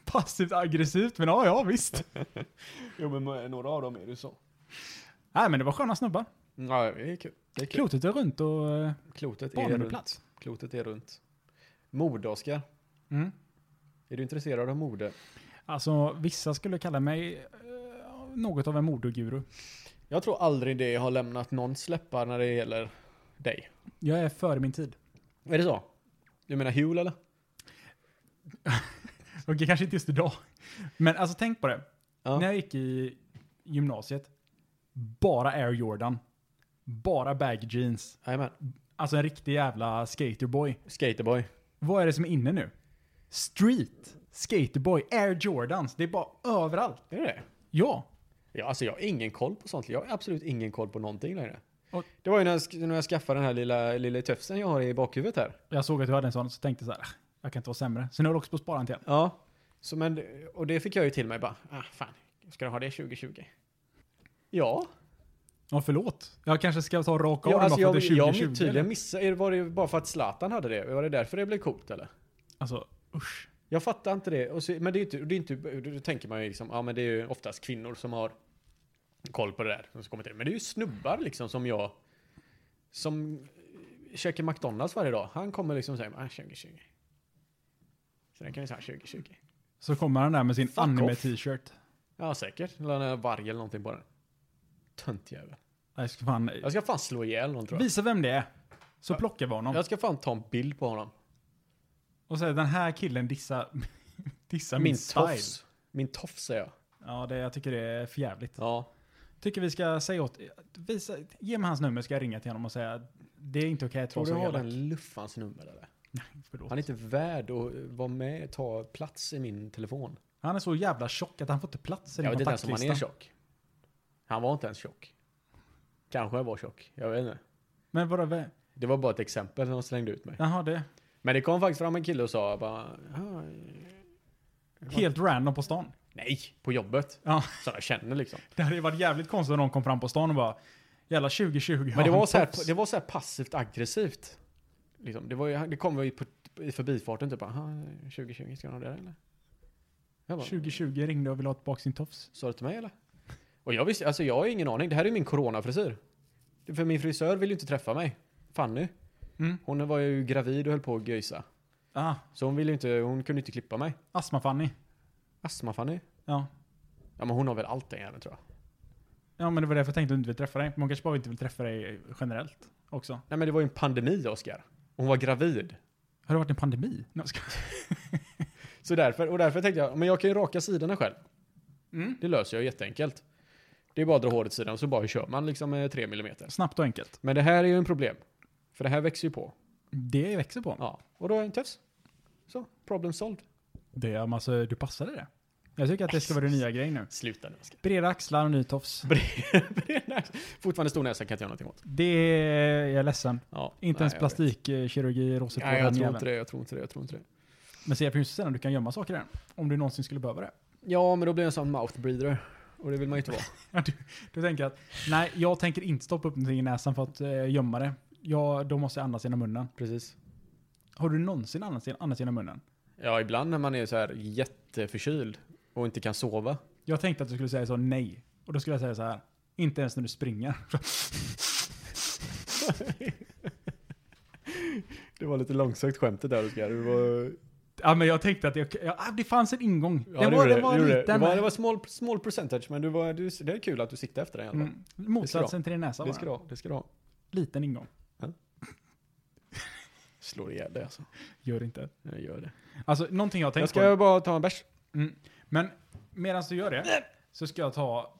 Passivt aggressivt, men ja, ja, visst.
Jo men några av dem är det så.
Nej, men det var sköna snubbar.
Ja, det är kul. Det är kul.
Klotet är runt och eh,
Klotet är
banan är
runt.
platt.
Klotet är runt. Mode, Oskar.
Mm.
Är du intresserad av mode?
Alltså, vissa skulle kalla mig eh, något av en modeguru.
Jag tror aldrig det har lämnat någon släppar när det gäller dig.
Jag är före min tid.
Är det så? Du menar Huel eller?
Okej, kanske inte just idag. Men alltså tänk på det.
Ja.
När jag gick i gymnasiet, bara Air Jordan. Bara bag jeans.
Jajamän.
Alltså en riktig jävla skaterboy.
Skaterboy.
Vad är det som är inne nu? Street, skaterboy, Air Jordans. Det är bara överallt.
Är det det?
Ja.
Ja, alltså jag har ingen koll på sånt. Jag har absolut ingen koll på någonting längre.
Och-
Det var ju när jag, sk- när jag skaffade den här lilla, lilla töfsen jag har i bakhuvudet här.
Jag såg att du hade en sån så tänkte så här, "Ah, jag kan inte vara sämre. Så nu har du också på sparan till.
Ja. Så men, och det fick jag ju till mig bara, ah fan, ska du ha det 2020? Ja.
Ja, förlåt. Jag kanske ska ta och raka av
ja
dem
alltså
bara för
jag,
att det är
jag
2020.
tydligen missade, är det- var det bara för att Zlatan hade det? Var det därför det blev coolt eller?
Alltså, usch.
Jag fattar inte det. Och så, men det är ju inte, det är inte, då då tänker man ju liksom, ja men det är ju oftast kvinnor som har koll på det där. Som kommer till det. Men det är ju snubbar liksom som jag, som käkar McDonalds varje dag. Han kommer liksom och säger, ah 2020. Så den kan vi säga 2020.
Så kommer han där med sin
Fuck
anime
off.
t-shirt.
Ja säkert, eller en varg eller någonting på den. Töntjävel.
Jag ska fan...
Jag ska fan slå ihjäl någon tror jag.
Visa vem det är. Så plockar vi honom.
Jag ska fan ta en bild på honom.
Och säga den här killen dissar, dissar min,
Min
style.
tofs. Min tofs säger jag.
Ja, det, jag tycker det är för jävligt.
Ja.
Tycker vi ska säga åt... Visa, ge mig hans nummer ska jag ringa till honom och säga det är inte okej att
Tror
vara så
du har
elak.
den luffans nummer eller?
Förlåt.
Han är inte värd att vara med, ta plats i min telefon.
Han är så jävla tjock att han får inte plats i
Jag
din
vet inte ens om han är
kontaktlistan.
tjock. Han var inte ens tjock. Kanske jag var tjock, jag vet inte.
Men vadå? vä-
Det var bara ett exempel när de slängde ut mig.
Jaha, det.
Men det kom faktiskt fram en kille och sa bara, "Ah,
Helt random på stan.
nej, på jobbet.
Ja.
Så jag känner liksom.
Det hade ju varit jävligt konstigt om någon kom fram på stan och bara Jävla 2020 har
Men det
han
var så här,
tofs."
det var så här passivt aggressivt. Liksom, det, var ju, det kom ju på, i förbifarten typ, aha, 2020, ska du ha det eller? Jag bara,
2020 ringde och ville ha tillbaka sin tofs.
Sa du till mig eller? Och jag visste, alltså jag har ju ingen aning. Det här är ju min coronafrisyr. Det- För min frisör vill ju inte träffa mig. Fanny.
Mm.
Hon var ju gravid och höll på att göjsa.
Ah,
Så hon ville ju inte, hon kunde inte klippa mig.
astma-Fanny.
Astma-Fanny.
Ja.
Ja men hon har väl allt den jäveln tror jag.
ja, men det var därför jag tänkte att du inte vill träffa dig. Man kanske bara inte vill träffa dig generellt också.
Nej men det var ju en pandemi Oskar. Hon var gravid.
Har det varit en pandemi? Nej, jag skojar.
Så därför, och därför tänkte jag, men jag kan ju raka sidorna själv.
Mm.
Det löser jag jätteenkelt. Det är bara att dra håret åt sidan så bara kör man liksom eh, tre millimeter.
Snabbt och enkelt.
Men det här är ju en problem. För det här växer ju på.
Det växer på.
Ja. Och då är jag en tufs. Så, problem solved.
Det är, alltså, du passade det. Jag tycker att det ska vara den nya grejen nu.
Sluta nu Oskar.
Breda axlar och ny tofs.
Fortfarande stor näsa kan jag inte göra någonting åt.
Det är jag ledsen.
Ja,
Inte ens plastikkirurgi rosigt på
Nej, jag
den
tror inte
jäveln.
det, jag tror inte det, jag tror inte det.
Men se, det finns sällan du kan gömma saker där. Om du någonsin skulle behöva det.
Ja, men då blir jag en sån mouth breather. Och det vill man ju inte vara.
Ja, Du, du tänker att, nej, jag tänker inte stoppa upp någonting i näsan för att eh, gömma det. Ja, då måste jag andas genom munnen.
Precis.
Har du någonsin andats, andats genom munnen?
Ja, ibland när man är så här jätteförkyld och inte kan sova.
Jag tänkte att du skulle säga så, nej. Och då skulle jag säga så här, inte ens när du springer.
Det var lite långsökt skämtet där Oskar. Det var...
Ja, men jag tänkte att jag, ja, ah, det fanns en ingång.
Ja, det,
var,
gjorde det,
det var
det, gjorde det. det
liten.
var, det var small, small percentage, men du var, du, det är kul att du siktade efter den i alla fall.
Mm, motsatsen till din näsa
Det
var
ska
det.
du ha, det ska du ha.
Liten ingång.
Slår ihjäl dig alltså.
Gör inte.
Jag gör det.
Alltså, någonting jag har tänkt
Jag
på.
ska bara ta en bärs.
Mm. Men medan du gör det så ska jag ta...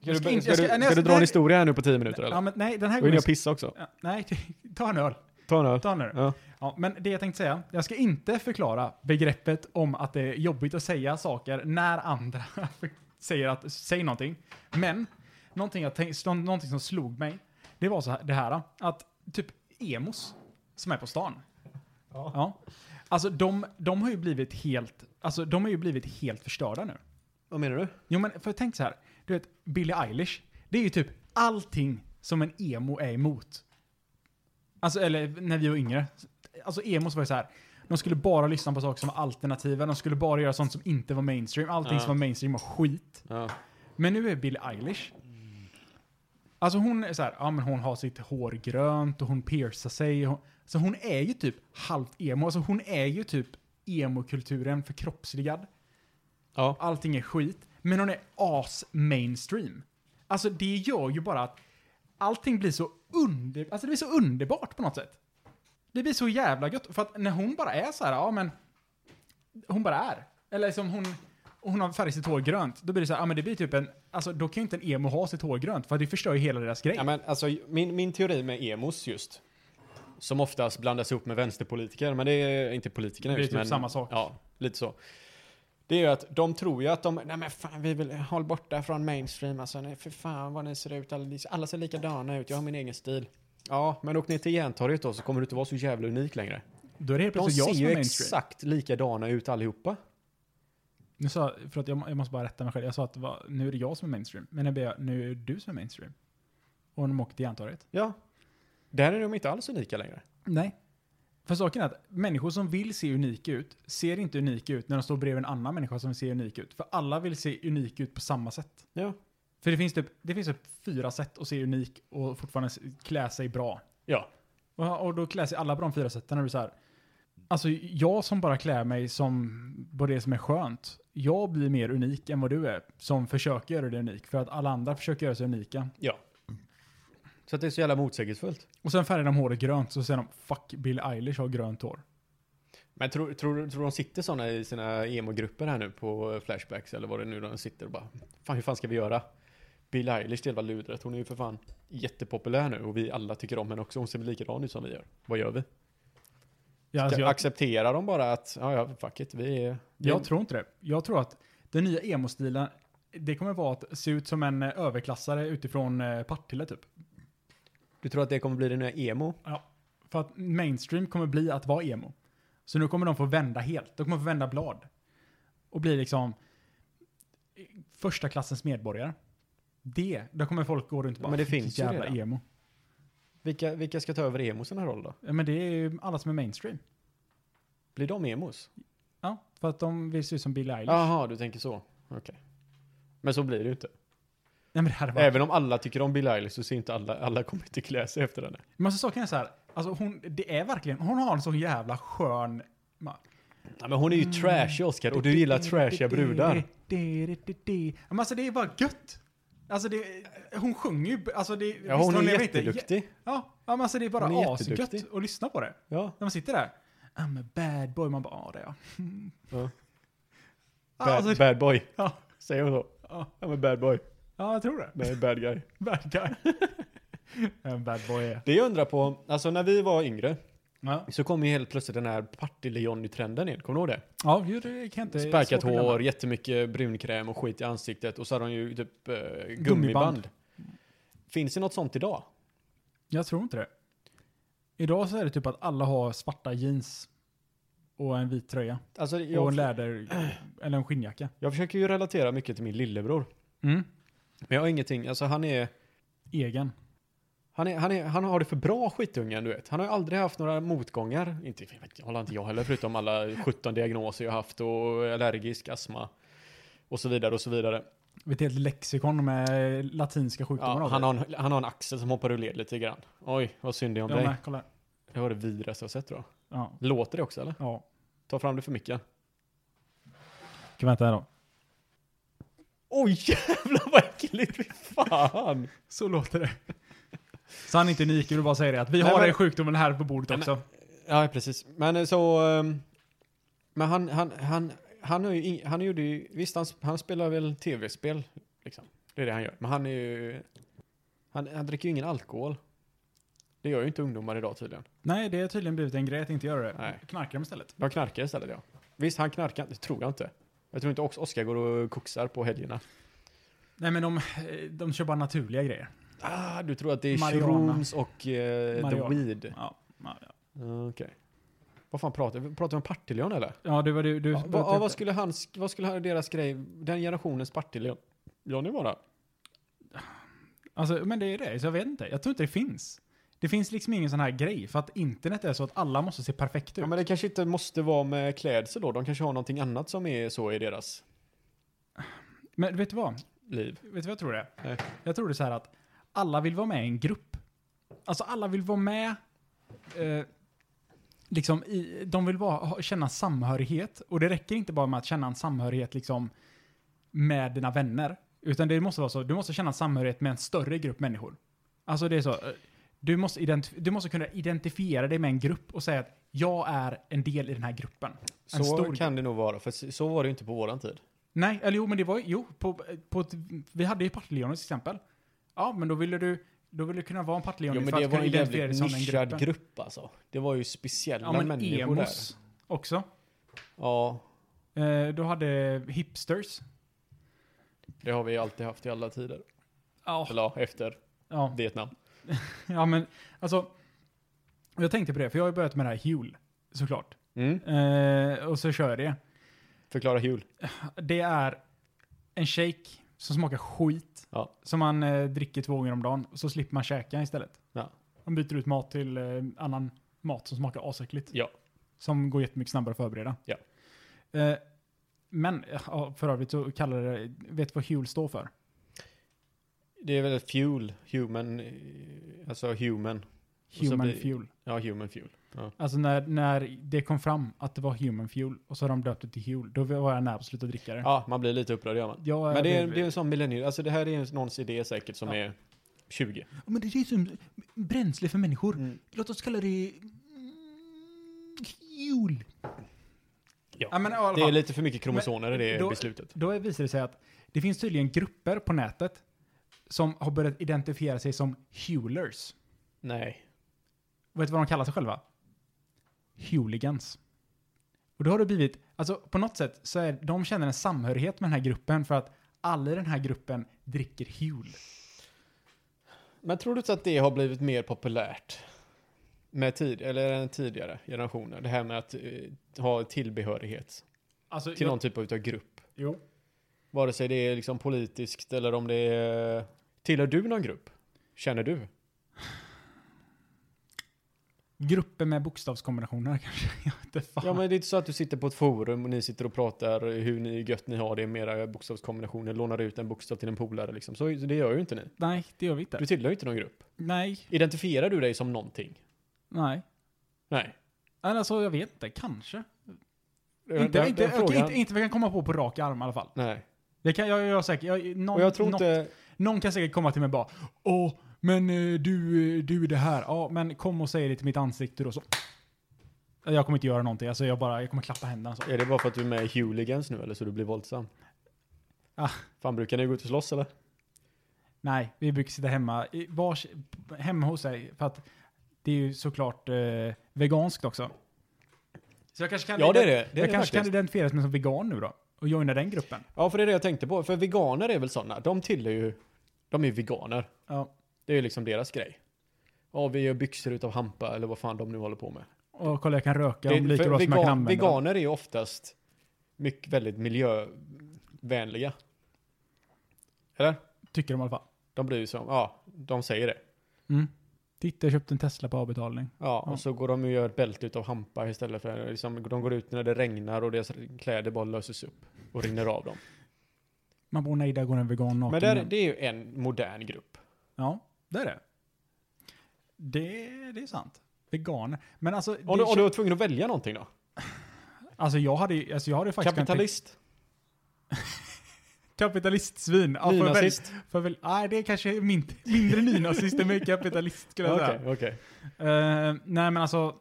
Ska
Jag
du,
ska
ska
in-
du,
jag ska- nej, jag
ska du
ska-
dra en
nej.
historia här nu på 10 minuter eller?
Ja, men nej, den här
Då hinner
gången...
jag pissa också.
Ja, nej, ta en öl.
Ta en öl.
Ta en öl.
Ja.
Ja, men det jag tänkte säga, jag ska inte förklara begreppet om att det är jobbigt att säga saker när andra säger att, säg någonting. Men, någonting, jag tänk, nå- någonting som slog mig, det var så här, det här, att typ emos som är på stan.
Ja.
Alltså de, de har ju blivit helt, alltså de har ju blivit helt förstörda nu.
Vad menar du?
Jo men, för tänk så här, du vet, Billie Eilish, det är ju typ allting som en emo är emot. Alltså, eller när vi var yngre. Alltså emos var ju så här. De skulle bara lyssna på saker som var alternativa, de skulle bara göra sånt som inte var mainstream. Allting
Ja.
som var mainstream var skit.
Ja.
Men nu är Billie Eilish. Alltså hon är så här, ja men hon har sitt hår grönt och hon piercar sig. och Hon, så hon är ju typ halvt emo. Alltså hon är ju typ emo-kulturen förkroppsligad.
ja.
Allting är skit. Men hon är as-mainstream. Alltså det gör ju bara att allting blir så under... Alltså det blir så underbart på något sätt. Det blir så jävla gött. För att när hon bara är så här, ja men... Hon bara är. Eller som hon... och Hon har färgat sitt hår grönt. Då blir det så här, ja men det blir typ en... Alltså då kan ju inte en emo ha sitt hår grönt. För det förstör ju hela deras grej.
ja men alltså min, min teori med emos just. Som oftast blandas ihop med vänsterpolitiker. Men det är inte politikerna
Det är
just.
typ
men,
samma sak.
Ja, lite så. Det är ju att de tror ju att de, nej men fan vi vill, håll borta från mainstream alltså, nej för fan vad ni ser ut, alla, ni- alla ser likadana ut, jag har min egen stil. Ja, men åk ner till Järntorget då så kommer du inte vara så jävla unik längre.
då är det helt
De
plötsligt
ser
jag som
ju
är mainstream.
exakt likadana ut allihopa.
Nu sa jag, för att jag, jag måste bara rätta mig själv. Jag sa att det var, nu är det jag som är mainstream. Men jag ber, nu är det du som är mainstream. Och de åkte till Järntorget.
Ja. Där är de inte alls unika längre.
Nej. För saken är att människor som vill se unika ut ser inte unika ut när de står bredvid en annan människa som ser unik ut. För alla vill se unika ut på samma sätt.
Ja.
För det finns typ, det finns typ fyra sätt att se unik och fortfarande s- klä sig bra.
Ja.
Och, och då klär sig alla på de fyra sätten. Och du så här, alltså jag som bara klär mig som på det som är skönt. Jag blir mer unik än vad du är som försöker göra det unik. För att alla andra försöker göra sig unika.
Ja. Så att det är så jävla motsägelsefullt.
Och sen färgar de håret grönt så säger de 'fuck Billie Eilish har grönt hår'.
Men tror, tror, tror de sitter sådana i sina emo-grupper här nu på eh, Flashbacks eller vad det nu är de sitter och bara Fan hur fan ska vi göra? Billie Eilish det är jävla ludret, hon är ju för fan jättepopulär nu och vi alla tycker om henne också, hon ser likadan ut som vi gör. Vad gör vi?
Ja,
Ska
alltså, jag-
Accepterar de bara att, ja ja, fuck it, vi är... vi-
Jag tror inte det. Jag tror att den nya emo-stilen, det kommer vara att se ut som en eh, överklassare utifrån eh, Partille typ.
Du tror att det kommer bli den nya emo?
För att mainstream kommer bli att vara emo. Så nu kommer de få vända helt. De kommer få vända blad. Och bli liksom eh, första klassens medborgare. Det, där kommer folk gå runt och
Ja,
bara
men det
"Fy,
finns ju
jävla
redan."
emo.
Vilka, vilka ska ta över emosarna roll då?
Ja, men det är ju alla som är mainstream.
Blir de emos?
Ja, för att de vill se ut som Billie Eilish.
Jaha, du tänker så. Okej. Men så blir det ju inte.
Nej, men det hade varit
Även om alla tycker om Billie Eilish så ser inte alla, alla kommer inte klä sig efter henne.
Men alltså saken är så här, alltså hon, det är verkligen, hon har en så jävla skön...
Ja, men hon är
Mm.
ju trashig Oscar och du gillar trashiga brudar.
Ja, Men alltså det är bara gött. Alltså det, hon sjunger ju, alltså det...
Ja,
visst,
hon är
lever inte-
jätteduktig.
Ja, ja, men alltså det är
Hon
bara
är
asgött
jätteduktig.
att lyssna på det.
Ja.
När man sitter där. I'm a bad boy, man bara, ja det är jag. Ja,
Ja. Bad,
alltså,
bad boy.
Ja.
Säger hon så?
Ja.
I'm a bad boy.
ja, jag tror det.
Nej, bad guy.
Bad guy. en bad boy är
Det jag undrar på, alltså när vi var yngre
Ja,
så kom ju helt plötsligt den här Partille-Johnny-trenden in. Kommer du ihåg det?
ja ju, det kan jag inte...
Sparkat
svårt att
hår, jättemycket brunkräm och skit i ansiktet och så hade de ju typ eh, gummiband.
Gummiband.
Finns det något sånt idag?
Jag tror inte det. Idag så är det typ att alla har svarta jeans och en vit tröja.
Alltså,
Och en
jag,
läder, eller en skinnjacka. Mm.
jag försöker ju relatera mycket till min lillebror. Men jag har ingenting, alltså han är...
Egen.
Han, är, han, är, han har det för bra skitungen du vet. Han har ju aldrig haft några motgångar. Inte jag vet, jag håller inte jag heller förutom alla 17 diagnoser jag haft och allergisk astma. Och så vidare och så vidare.
Ett helt lexikon med latinska sjukdomar.
Ja,
av
han,
det.
har en, han har en axel som hoppar ur led lite grann. Oj, vad synd det är om
ja,
dig.
men, kolla. här.
Det var det vidrigaste jag sett tror jag.
Ja.
Låter det också eller?
ja.
Ta fram det för mycket.
Kan vänta här då.
Oj jävlar vad äckligt, fy fan!
Så låter det. Så han är inte unik, jag vill bara säga det. Att vi
Nej,
har
men-
den sjukdomen här på bordet
Nej, men-
också.
Ja precis, men eh, så... ehm, Men han, han, han han, har ju, ing- han gjorde ju, visst han, han spelar väl tv-spel, liksom. Det är det han gör. Men han är ju, han, han dricker ju ingen alkohol. Det gör ju inte ungdomar idag tydligen.
Nej, det har tydligen blivit en grej att inte göra det.
Nej.
Knarkar dem istället.
De knarkar istället ja. Visst, han knarkar inte, det tror jag inte. Jag tror inte Os- Oskar går och koksar på helgerna.
Nej, men de, eh, de kör bara naturliga grejer.
Ah, du tror att det är
Marijuana.
shrooms och eh, the
Marijuana.
weed.
Ja, ja, ja.
Ah, Okej. Vad fan pratar vi? Pratar vi om Partillön eller?
ja det var du... du
Ja, vad, ja, vad skulle hans, vad skulle han- deras grej, den generationens Partille, Johnny vara?
Alltså, men det är det, så jag vet inte. Jag tror inte det finns. Det finns liksom ingen sån här grej, för att internet är så att alla måste se perfekt ut.
Ja, men det kanske inte måste vara med klädsel då, de kanske har någonting annat som är så i deras
men vet du vad?
liv.
Vet du vad jag tror det är?
Nej.
Jag tror det är så här att alla vill vara med i en grupp. Alltså alla vill vara med, eh, liksom i, de vill bara ha, känna samhörighet. Och det räcker inte bara med att känna en samhörighet liksom med dina vänner. Utan det måste vara så, du måste känna samhörighet med en större grupp människor. Alltså det är så, eh, du måste, identi- du måste kunna identifiera dig med en grupp och säga att jag är en del i den här gruppen. En
Så
stor
kan det nog vara, för så så var det ju inte på våran tid.
Nej, eller jo, men det var ju, jo, på, på ett, vi hade ju Partille till exempel. Ja, men då ville du, då ville du kunna vara en Partille
Jo,
Johnny
men
för att
det var
kunna
en
identifiera dig
jävligt
som den gruppen.
nischad grupp alltså. Det var ju speciella
ja, men
människor där.
emos också.
Ja,
Eh, du hade hipsters.
det har vi ju alltid haft i alla tider.
Ja,
Eller ja, efter
ja,
Vietnam.
ja, men alltså. Jag tänkte på det, för jag har ju börjat med det här hjul, såklart.
Mm.
Eh, och så kör jag det.
Förklara jul.
Det är en shake som smakar skit.
Ja.
Som man eh, dricker två gånger om dagen. Och så slipper man käka istället.
Ja.
Man byter ut mat till eh, annan mat som smakar asäckligt.
Ja.
Som går jättemycket snabbare att förbereda.
Ja.
Eh, men ja, för övrigt så kallar det, vet du vad HUL står för?
Det är väl ett fuel, human, eh, alltså human. så
Human
blir-
fuel.
Ja, human fuel. Ja.
Alltså när, när det kom fram att det var human fuel och så har de döpt det till HUL, då var jag nära på att sluta dricka det.
ja, man blir lite upprörd gör man.
Jag,
Men det är, det är en sån millennial, alltså det här är ju någons idé säkert som
Ja.
är 20.
men det är ju som bränsle för människor.
Mm.
Låt oss kalla det... mm, Jul.
Ja.
men, i alla
Det är
fall.
lite för mycket kromosomer i det
då-
beslutet.
Då visar det sig att det finns tydligen grupper på nätet som har börjat identifiera sig som hulers.
Nej.
Vet du vad de kallar sig själva? Hooligans. Och då har det blivit, alltså på något sätt så är de känner en samhörighet med den här gruppen för att alla i den här gruppen dricker hul.
Men tror du inte att det har blivit mer populärt? Med tid, eller än tidigare generationer. Det här med att eh, ha tillbehörighet
Alltså,
till någon typ av utav grupp.
jo.
Vare sig det är liksom politiskt eller om det är... Tillhör du någon grupp? Känner du?
Grupper med bokstavskombinationer kanske, jag vet inte fan.
Ja men det är inte så att du sitter på ett forum och ni sitter och pratar hur ni, gött ni har det med era bokstavskombinationer, lånar ut en bokstav till en polare liksom. Så det gör ju inte ni.
Nej, det gör vi inte.
Du tillhör ju inte någon grupp.
Nej,
Identifierar du dig som någonting?
nej.
Nej.
Nej, Alltså jag vet inte, kanske.
Den-
inte,
den-
inte,
den
okej, inte, inte vad jag kan komma på på rak arm i alla fall.
Nej.
Det kan jag, jag, är säker. jag någon,
Och jag tror
någon,
inte...
någon kan säkert komma till mig och bara Åh, men eh, du, eh, du är det här. Ja, men kom och säg det till mitt ansikte då så. Jag kommer inte göra någonting. Alltså jag bara, jag kommer klappa händerna så.
Är det bara för att du är med i Hooligans nu eller så du blir våldsam?
Ah.
Fan, brukar ni gå ut och slåss eller?
Nej, vi brukar sitta hemma, i vars, hemma hos sig. För att det är ju såklart eh, veganskt också. Så jag kanske kan,
Ja, det är det. det, är
jag kanske
det
kan
faktiskt.
identifiera mig som vegan nu då. Och joina den gruppen.
Ja, för det är det jag tänkte på. För veganer är väl sådana. De tillhör ju... De är ju veganer.
Ja.
Det är ju liksom deras grej. Ja, vi gör byxor utav hampa eller vad fan de nu håller på med.
Och kolla, jag kan röka
Det-
om lika
för
bra som jag kan
vegan,
använda den.
veganer är ju oftast mycket, väldigt miljövänliga. Eller?
Tycker de i alla fall.
De bryr sig om... Ja, de säger det. Mm.
Titta, jag köpte en Tesla på avbetalning.
Ja, och
Ja.
så går de och gör ett bälte utav hampa istället för liksom, de går ut när det regnar och deras kläder bara löses upp och rinner av dem.
Man bor nej, där går en vegan naken.
Men där,
igen.
det är ju en modern grupp.
Ja, det är det. Det, det är sant. Veganer. Men alltså, det,
Om du, om du var tvungen att välja någonting då?
alltså jag hade ju alltså jag hade ju faktiskt...
Kapitalist?
kunnat tänka- Kapitalistsvin. Ja, för väl,
Nynazist?
för väl, nej, det är kanske min, mindre nynazist än mer kapitalist skulle jag säga.
Okej, okej.
Eh, nej, men alltså...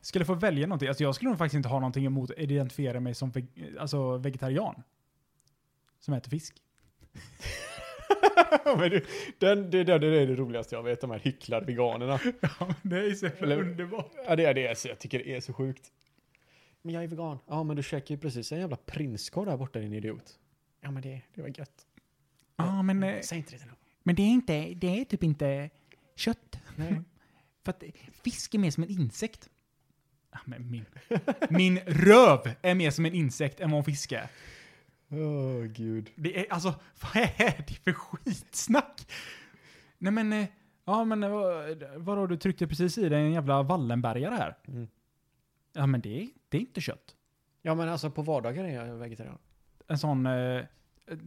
skulle få välja någonting, alltså jag skulle nog faktiskt inte ha någonting emot att identifiera mig som veg- alltså vegetarian. Som äter fisk.
Men du, den, det, det, det är det roligaste jag vet, de här hycklarveganerna.
Ja, det är så
Eller-
underbart.
Ja, det är det alltså, jag tycker det är så sjukt. Men jag är vegan. Ja, men du käkar ju precis en jävla prinskorv där borta din idiot. Ja, men det, det var gött.
Ja, men, eh,
Säg inte det till någon.
men det är inte, det är typ inte kött.
Nej.
För att fisk är mer som en insekt. Ja, men min, min röv är mer som en insekt än vad en fisk är.
Åh, oh, gud.
Det är, alltså, vad är det för skitsnack? Nej men, eh, ja men eh, vad- vadå, du tryckte precis i dig en jävla Wallenbergare här.
Mm.
Ja men det, det är inte kött.
Ja, men alltså på vardagar är jag vegetarian.
En sån, eh, jag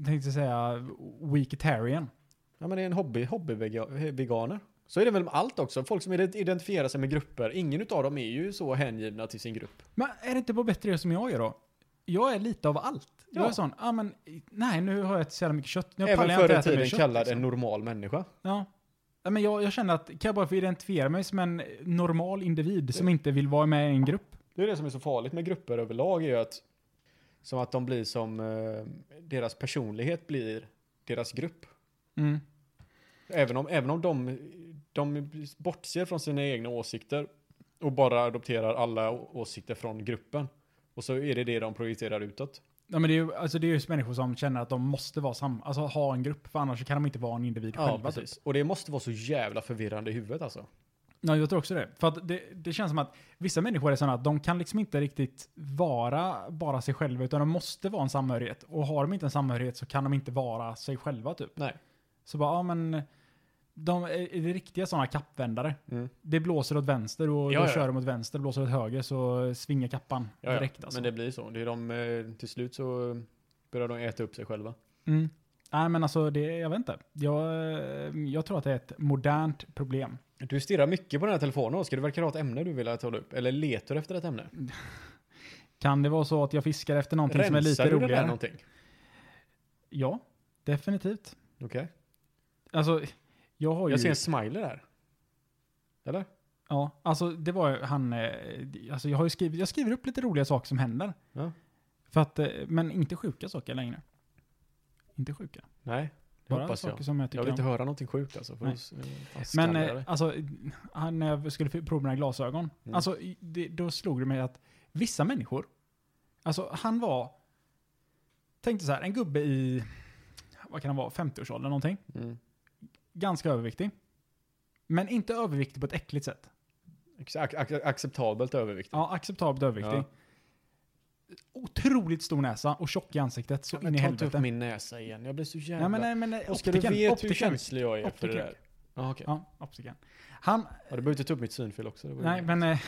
tänkte säga, weekitarian.
Ja, men det är en hobby, hobbyveganer. Så är det väl med allt också. Folk som ident- identifierar sig med grupper. Ingen utav dem är ju så hängivna till sin grupp.
Men är det inte bara bättre det som jag är då? Jag är lite av allt. Jag
Ja.
är sån, ja men, nej nu har jag ätit så jävla mycket kött. Nu pallar
Även
jag inte
förr i
äta mer
tiden
kött,
kallad
liksom.
en normal människa.
Ja. Ja, Men jag, jag känner att, kan jag bara få identifiera mig som en normal individ som inte vill vara med i en grupp?
Det är det som är så farligt med grupper överlag är ju att som att de blir som eh, deras personlighet blir deras grupp.
Mm.
Även om, även om de, de bortser från sina egna åsikter och bara adopterar alla å- åsikter från gruppen. Och så är det det de projicerar utåt.
Ja, men det är ju alltså, det är just människor som känner att de måste vara sam, alltså ha en grupp, för annars kan de inte vara en individ
Ja, typ.
själva. typ.
precis. Och det måste vara så jävla förvirrande i huvudet alltså.
Ja, jag tror också det. För att det, det känns som att vissa människor är sådana att de kan liksom inte riktigt vara bara sig själva, utan de måste vara en samhörighet. Och har de inte en samhörighet så kan de inte vara sig själva typ.
Nej.
Så bara, ja men, de är är det riktiga sådana kappvändare.
Mm.
Det blåser åt vänster och
Ja,
då
ja.
kör de åt vänster, blåser åt höger så svingar kappan
Ja, ja.
direkt alltså.
Men det blir så. Det är de, eh, till slut så eh, börjar de äta upp sig själva.
Mm. Nej men alltså, det, jag vet inte. Jag, eh, jag tror att det är ett modernt problem.
Du stirrar mycket på den här telefonen Oskar. Du verkar ha ett ämne du vill att hålla upp. Eller letar du efter ett ämne?
Kan det vara så att jag fiskar efter någonting som är lite
du den med
roligare?
någonting?
Ja, definitivt.
Okej.
Alltså, jag har ju...
Jag ser en smiley där. Eller?
Ja, alltså det var ju han... eh, Alltså jag har ju skrivit... Jag skriver upp lite roliga saker som händer.
Ja.
För att, eh, men inte sjuka saker längre. Inte sjuka.
Nej, det
Bara
hoppas
saker
jag.
som jag
Jag
tycker
vill inte
om.
höra någonting sjukt alltså. För
Nej.
då s- fan
Men
skallar jag
eh,
dig.
alltså, han, när jag skulle prova mina glasögon,
Mm.
alltså, i- det, då slog det mig att vissa människor, alltså han var, tänkte så här, en gubbe i, vad kan han vara, 50-årsåldern någonting,
Mm.
ganska överviktig. Men inte överviktig på ett äckligt sätt.
Ac- ac- acceptabelt övervikt.
Ja, acceptabelt överviktig. Otroligt stor näsa och tjock i ansiktet, så in i
ta inte upp
helvete.
min näsa igen. Jag blir så jävla...
Nej men, eh, nej, men nej,
Oskar, du
optiken,
vet hur
optiken.
känslig jag är för det
Optiken.
där. Ah, okay.
Ja, optiken. Han,
ja, du behöver inte ta upp mitt synfel också. Det var ju-
Nej, men... Eh,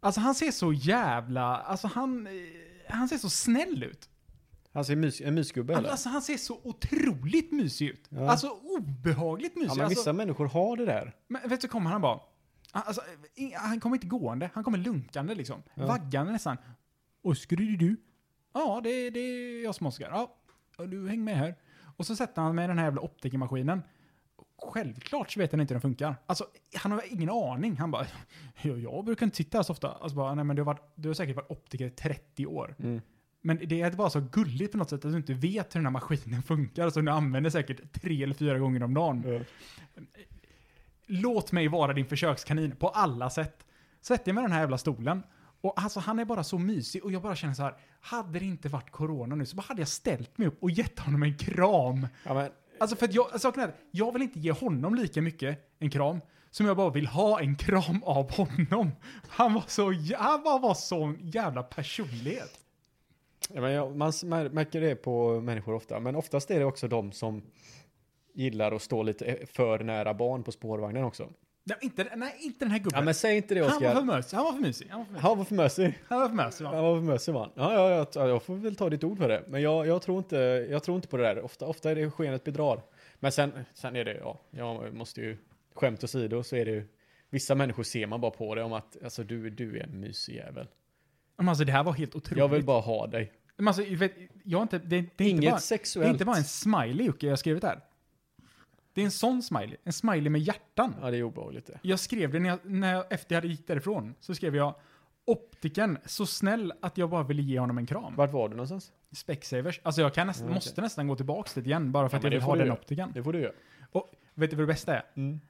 alltså han ser så jävla... Alltså han... Eh, han ser så snäll ut.
Han ser mys, en mysgubbe eller?
Alltså han ser så otroligt mysig ut.
Ja.
Alltså obehagligt mysig.
Ja, men vissa
alltså,
människor har det där.
men vet du, kommer han bara... Alltså, i- han kommer inte gående, han kommer lunkande liksom.
Ja.
Vaggande nästan. Oskar, är det du? Ja, det, det är jag som Oskar. Ja, Ja, du häng med här. Och så sätter han med den här jävla optikermaskinen. Självklart så vet han inte hur den funkar. Alltså, han har ingen aning. Han bara, jag, jag brukar inte sitta här så ofta. Alltså bara, nej men du har, varit, du har säkert varit optiker i 30 år.
Mm.
Men det är bara så gulligt på något sätt att du inte vet hur den här maskinen funkar. Så du använder säkert tre eller fyra gånger om dagen. Låt mig vara din försökskanin på alla sätt. Sätt dig med den här jävla stolen. Och alltså han är bara så mysig och jag bara känner så här. Hade det inte varit corona nu så bara hade jag ställt mig upp och gett honom en kram.
Ja, men,
Alltså för att jag, saken är, jag vill inte ge honom lika mycket en kram som jag bara vill ha en kram av honom. Han var så, jä- han bara var sån jävla personlighet.
Ja, men jag, man s- mär- märker det på människor ofta, men oftast är det också de som gillar att stå lite eh, för nära barn på spårvagnen också.
Nej, inte, nej, inte den här
Ja,
gubben.
men säg inte det
han, var för
Oskar.
mysig, han var för mysig. Han var för mysig.
Han var för mösig.
Han var för mysig. va?
Han var för mösig man. Ja, ja, jag, ja, jag får väl ta ditt ord för det. Men jag, jag, tror, inte, jag tror inte på det där. Ofta, ofta är det skenet bedrar. Men sen, sen är det, ja, jag måste ju, skämt åsido så är det ju, vissa människor ser man bara på det om att, alltså du, du är en mysig jävel.
Men alltså det här var helt otroligt.
Jag vill bara ha dig.
Men alltså, jag vet, jag har inte, det, det är inte
Inget
bara, det
sexuellt.
är inte bara en smiley Jocke jag har skrivit här. Det är en sån smiley. En smiley med hjärtan.
Ja, det är obehagligt det.
Jag skrev det när jag, när jag, efter jag hade gick därifrån. Så skrev jag optiken så snäll att jag bara ville ge honom en kram.
Vart var du någonstans?
Specsavers. Alltså jag kan nästan,
Mm, okej.
måste nästan gå tillbaks dit igen bara för
Ja,
att jag
men det
vill
får
ha
du
den
göra.
optiken.
Det får du göra.
Vet du vad det bästa är?
Mm.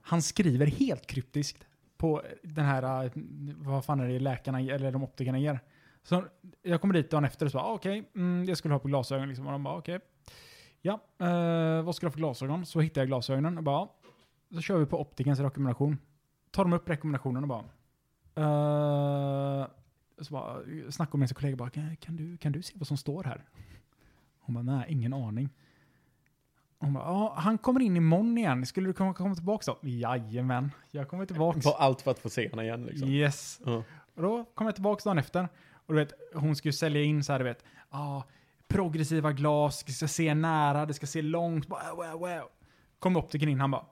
Han skriver helt kryptiskt på den här, eh, vad fan är det läkarna ger- eller de optikerna ger. Så jag kommer dit dagen efter och så bara, ah, okej, mm, jag skulle ha på glasögon liksom. Och de bara, okej. Ja, eh, vad ska du ha för glasögon? Så hittar jag glasögonen och bara, ja. så kör vi på optikens rekommendation. Tar de upp rekommendationen och bara, eh, så bara eh, snackar med sin kollega bara, kan kan du, kan du se vad som står här? Hon bara, nej, ingen aning. Hon bara, ja, han kommer in imorgon igen. Skulle du komma, komma tillbaka då? Jajamän, jag kommer tillbaka.
På allt för att få se henne igen liksom.
Yes.
Ja.
Och då kom jag tillbaka dagen efter. Och du vet, hon skulle sälja in så här, du vet. Ah, progressiva glas, det ska se nära, det ska se långt. Bara, wow, wow. Kom optikern in, han bara.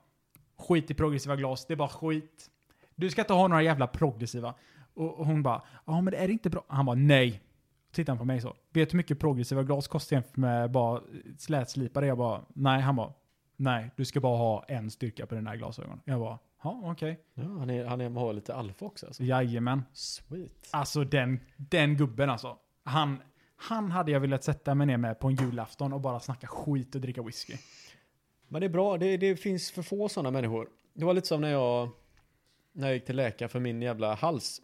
Skit i progressiva glas, det är bara skit. Du ska inte ha några jävla progressiva. Och, och hon bara, ja ah, men det är inte bra. Han bara, nej. Tittar han på mig så. Vet du hur mycket progressiva glas kostar jämfört med bara slätslipade? Jag bara, nej. Han bara, nej. Du ska bara ha en styrka på dina glasögon. Jag bara, ja okej.
Ja, han, är, han är, har lite alfa också alltså.
Jajamän.
Sweet.
Alltså den, den gubben alltså. Han, han hade jag velat sätta mig ner med på en julafton och bara snacka skit och dricka whisky.
Men det är bra, det, det finns för få sådana människor. Det var lite som när jag, när jag gick till läkaren för min jävla hals.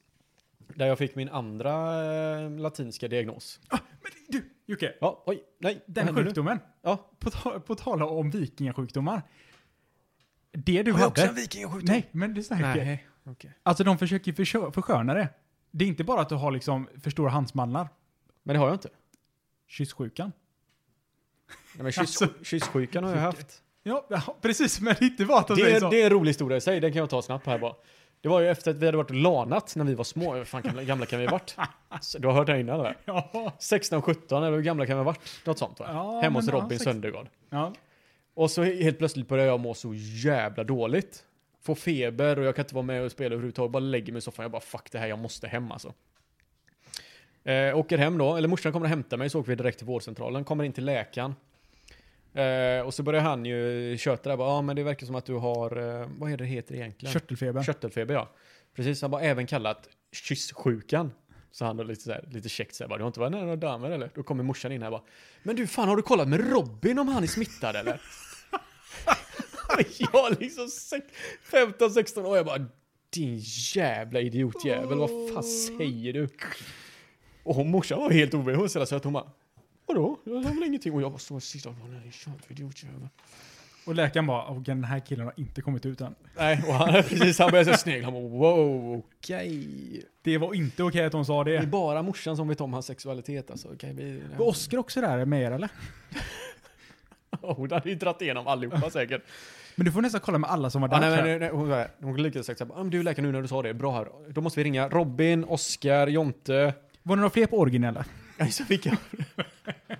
Där jag fick min andra eh, latinska diagnos.
Ah, Men du, Jocke.
Ja, oj, nej. vad
Den
hände nu?
sjukdomen.
Ja.
På, ta, på tala om vikingasjukdomar. Det du
Har jag
hade.
också en vikingasjukdom?
Nej, men lyssna Jocke.
Nej, okej.
Alltså de försöker ju försö- försköna det. Det är inte bara att du har liksom för stora handsmallar.
Men det har jag inte.
Kyssjukan.
Nej, men kyss,
Alltså.
Kyssjukan har jag haft.
Ja, ja, precis. Men det är inte bara att de
Det
säger
är,
så.
det är en rolig historia i sig, den kan jag ta snabbt här bara. Det var ju efter att vi hade varit och lanat när vi var små. Hur fan gamla, gamla kan vi ha varit? Så Du har hört det här innan eller?
Ja.
16, 17 eller hur gamla kan vi ha varit? Något sånt va?
Ja,
Hemma hos
men ja,
Robin
sex-
Söndergaard.
ja.
Och så helt plötsligt börjar jag må så jävla dåligt. Får feber och jag kan inte vara med och spela överhuvudtaget. Bara lägger mig i soffan. Jag bara fuck det här, jag måste hem alltså. Eh, åker hem då, eller morsan kommer och hämtar mig så åker vi direkt till vårdcentralen. Kommer in till läkaren. Eh, och så börjar han ju köta där. Ja ah, men det verkar som att du har, eh, vad är det det heter egentligen?
Körtelfeber.
Körtelfeber ja. Precis, han bara även kallat kyssjukan. Så han då lite, så här, lite käckt såhär, du har inte varit nära några damer eller? Då kommer morsan in här bara, men du fan har du kollat med Robin om han är smittad eller? jag liksom 15-16 år, jag bara, din jävla idiotjävel, vad fan säger du? Och hon, morsan var helt obehaglig, hon ställde sig att hon bara, vadå? Jag har väl ingenting? Och jag bara står och sitter och bara, nej, kör för idiotjävel.
Och läkaren bara, "Åh, den här killen har inte kommit ut än.
Nej, och han, precis, han började så här snegla, han bara, wow, okej.
Det var inte okej att hon sa
Det är
det.
bara morsan som vet om hans sexualitet alltså. Kan vi...
Var Oskar också där med er eller?
Oh, hon hade ju dragit igenom allihopa säkert.
Men du får nästan kolla med alla som var där.
Ja, nej,
tror
men,
jag.
nej, nej, hon var- hon kunde lika gärna sagt såhär, ah, men du läkare nu när du sa det, bra här. Då måste vi ringa Robin, Oskar, Jonte.
Var det några fler på originella?
Nej, så fick jag.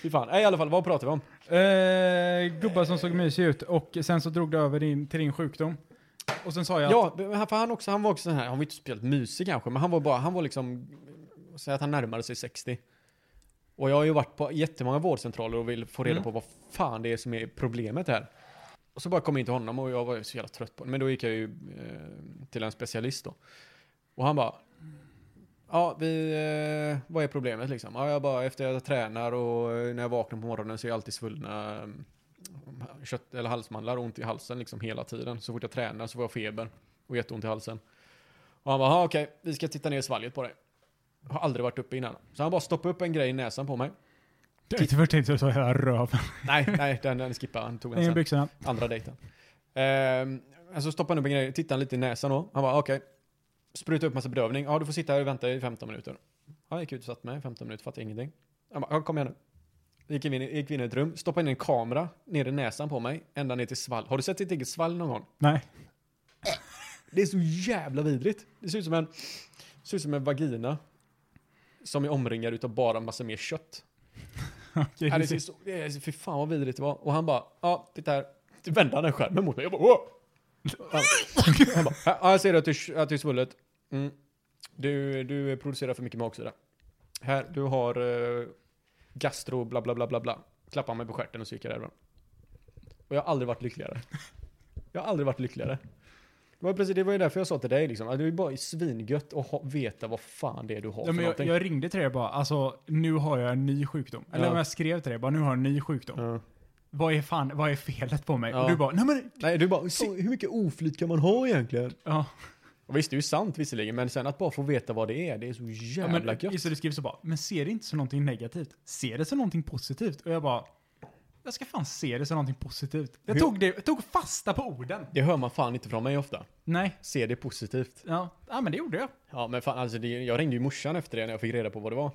Fy fan. Nej, i alla fall, vad pratar vi om?
Eh, gubbar som såg mysig ut och sen så drog du över din, till din sjukdom. Och sen sa jag
Ja, men för han också, han var också sån här, han var inte spelat musik kanske, men han var bara, han var liksom, säg att han närmade sig 60. Och jag har ju varit på jättemånga vårdcentraler och vill få reda
Mm.
på vad fan det är som är problemet här. Och så bara kom jag in till honom och jag var ju så jävla trött på det. Men då gick jag ju eh, till en specialist då. Och han bara, ja vi, eh, vad är problemet liksom? Ja, jag bara, efter jag tränar och eh, när jag vaknar på morgonen så är jag alltid svullna eh, kött eller halsmandlar och ont i halsen liksom hela tiden. Så fort jag tränar så får jag feber och jätteont i halsen. Och han bara, "Ja, okej, vi ska titta ner i svalget på dig. Har aldrig varit uppe innan. Så han bara stoppade upp en grej i näsan på mig.
jag inte först tänkte jag så här röven.
Nej, nej, den, den skippade han. Tog den
I
sen.
byxorna.
Andra dejten. Ehm, alltså stoppade han upp en grej, tittade han lite i näsan då. Han bara, okej. Spruta upp massa bedövning. Ja, du får sitta här och vänta i 15 minuter. Han gick ut och satt mig i 15 minuter, fattade ingenting. Han bara, ja, kom igen nu. Gick vi in, i- gick vi in i ett rum, stoppade in en kamera ner i näsan på mig, ända ner till svall. Har du sett ditt eget svall någon gång?
Nej.
Det är så jävla vidrigt. Det ser ut som en, ser ut som en vagina. Som är omringad utav bara massa mer kött.
Okej.
Ja, det ser så, det är, fy fan vad vidrigt det var. Och han bara, ja, titta här. Då vände han den skärmen mot mig. Jag bara, åh! Han, han bara, ja, jag ser att du, att du är svullet. Mm. Du, du producerar för mycket magsyra. Här, du har eh, gastro, bla bla bla bla bla. Klappade han mig på stjärten och så gick jag därifrån. Och jag har aldrig varit lyckligare. Jag har aldrig varit lyckligare. Det var, precis, det var ju därför jag sa till dig liksom, att det är ju bara svingött att ha, veta vad fan det är du har
Ja,
för
men jag,
någonting.
jag ringde till dig och bara, alltså nu har jag en ny sjukdom. Eller
Ja.
om jag skrev till dig, bara nu har jag en ny sjukdom.
Ja.
Vad är fan, vad är felet på mig?
Ja.
Och du bara, nej men,
Nej, du bara, "Så, hur mycket oflyt kan man ha egentligen?
ja.
Och visst, det är ju sant visserligen, men sen att bara få veta vad det är, det är så
ja
jävla
men,
gött.
så du skrev så bara, men ser det inte som någonting negativt? Ser det som någonting positivt? Och jag bara, jag ska fan se det som någonting positivt. Jag
Hur-
tog, det, jag tog fasta på orden.
Det hör man fan inte från mig ofta.
Nej,
Se det positivt.
ja, ja men det gjorde jag.
Ja, men fan alltså, det, jag ringde ju morsan efter det när jag fick reda på vad det var.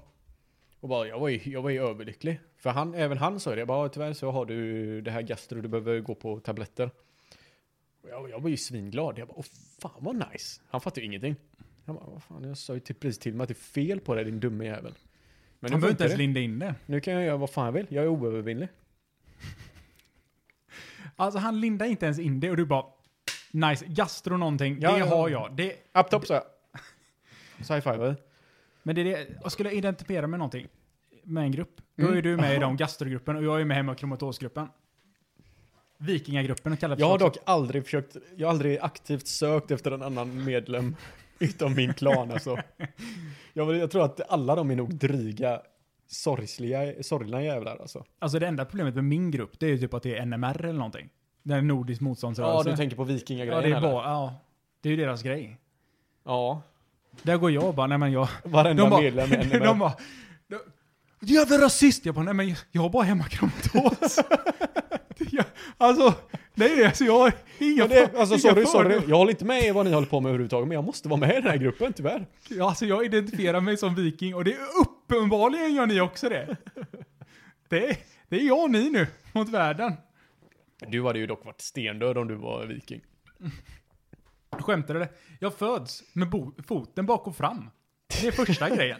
Och bara, jag var ju, jag var ju överlycklig. För han, även han sa ju det, jag bara, tyvärr så har du det här gastro, du behöver gå på tabletter. Och jag, jag var ju svinglad, jag bara, åh fan vad nice. Han fattade ju ingenting. Han bara, vad fan, jag sa ju till, precis till mig att det är fel på dig din dumme jävel. Men
Han
nu,
behöver inte
funkar
ens
det.
linda in det.
nu kan jag göra vad fan jag vill, jag är oövervinnlig.
Alltså han lindade inte ens in det och du bara, nice, gastro någonting,
Ja,
det
ja.
har jag. Det,
Apptopp sa jag. Sci-fi,
Men det är det, jag skulle identifiera med någonting, med en grupp. Då är du med i de gastrogruppen och jag är med hemma i kromatosgruppen. Vikingagruppen kallar
Jag har dock aldrig försökt, jag har aldrig aktivt sökt efter en annan medlem utom min klan alltså. Jag, vill- jag tror att alla de är nog dryga, sorgsliga, sorgna jävlar alltså.
Alltså det enda problemet med min grupp, det är ju typ att det är NMR eller någonting. Den är nordisk
Ja,
motståndsrörelse.
du tänker på
ja,
vikingagrejen
det är
eller?
bara, ja. Det är ju deras grej.
Ja, där
Där går jag och bara, nej men jag...
varenda
De bara,
medlem är NMR.
de bara, "Du- du jävla rasist! Jag bara, nej men jag- jag har bara hemmakromatos. Jag- alltså, nej alltså jag har inga
Ja, det, alltså
inga
sorry, sorry.
fördomar.
Jag håller inte med i vad ni håller på med överhuvudtaget, men jag måste vara med i den här gruppen tyvärr.
Ja, Alltså jag identifierar mig som viking och det är uppenbarligen gör ni också det. Det är, det är jag och ni nu mot världen.
Du hade ju dock varit stendöd om du var viking.
Skämtar du det? Jag föds med bo- foten bak och fram. Det är första grejen.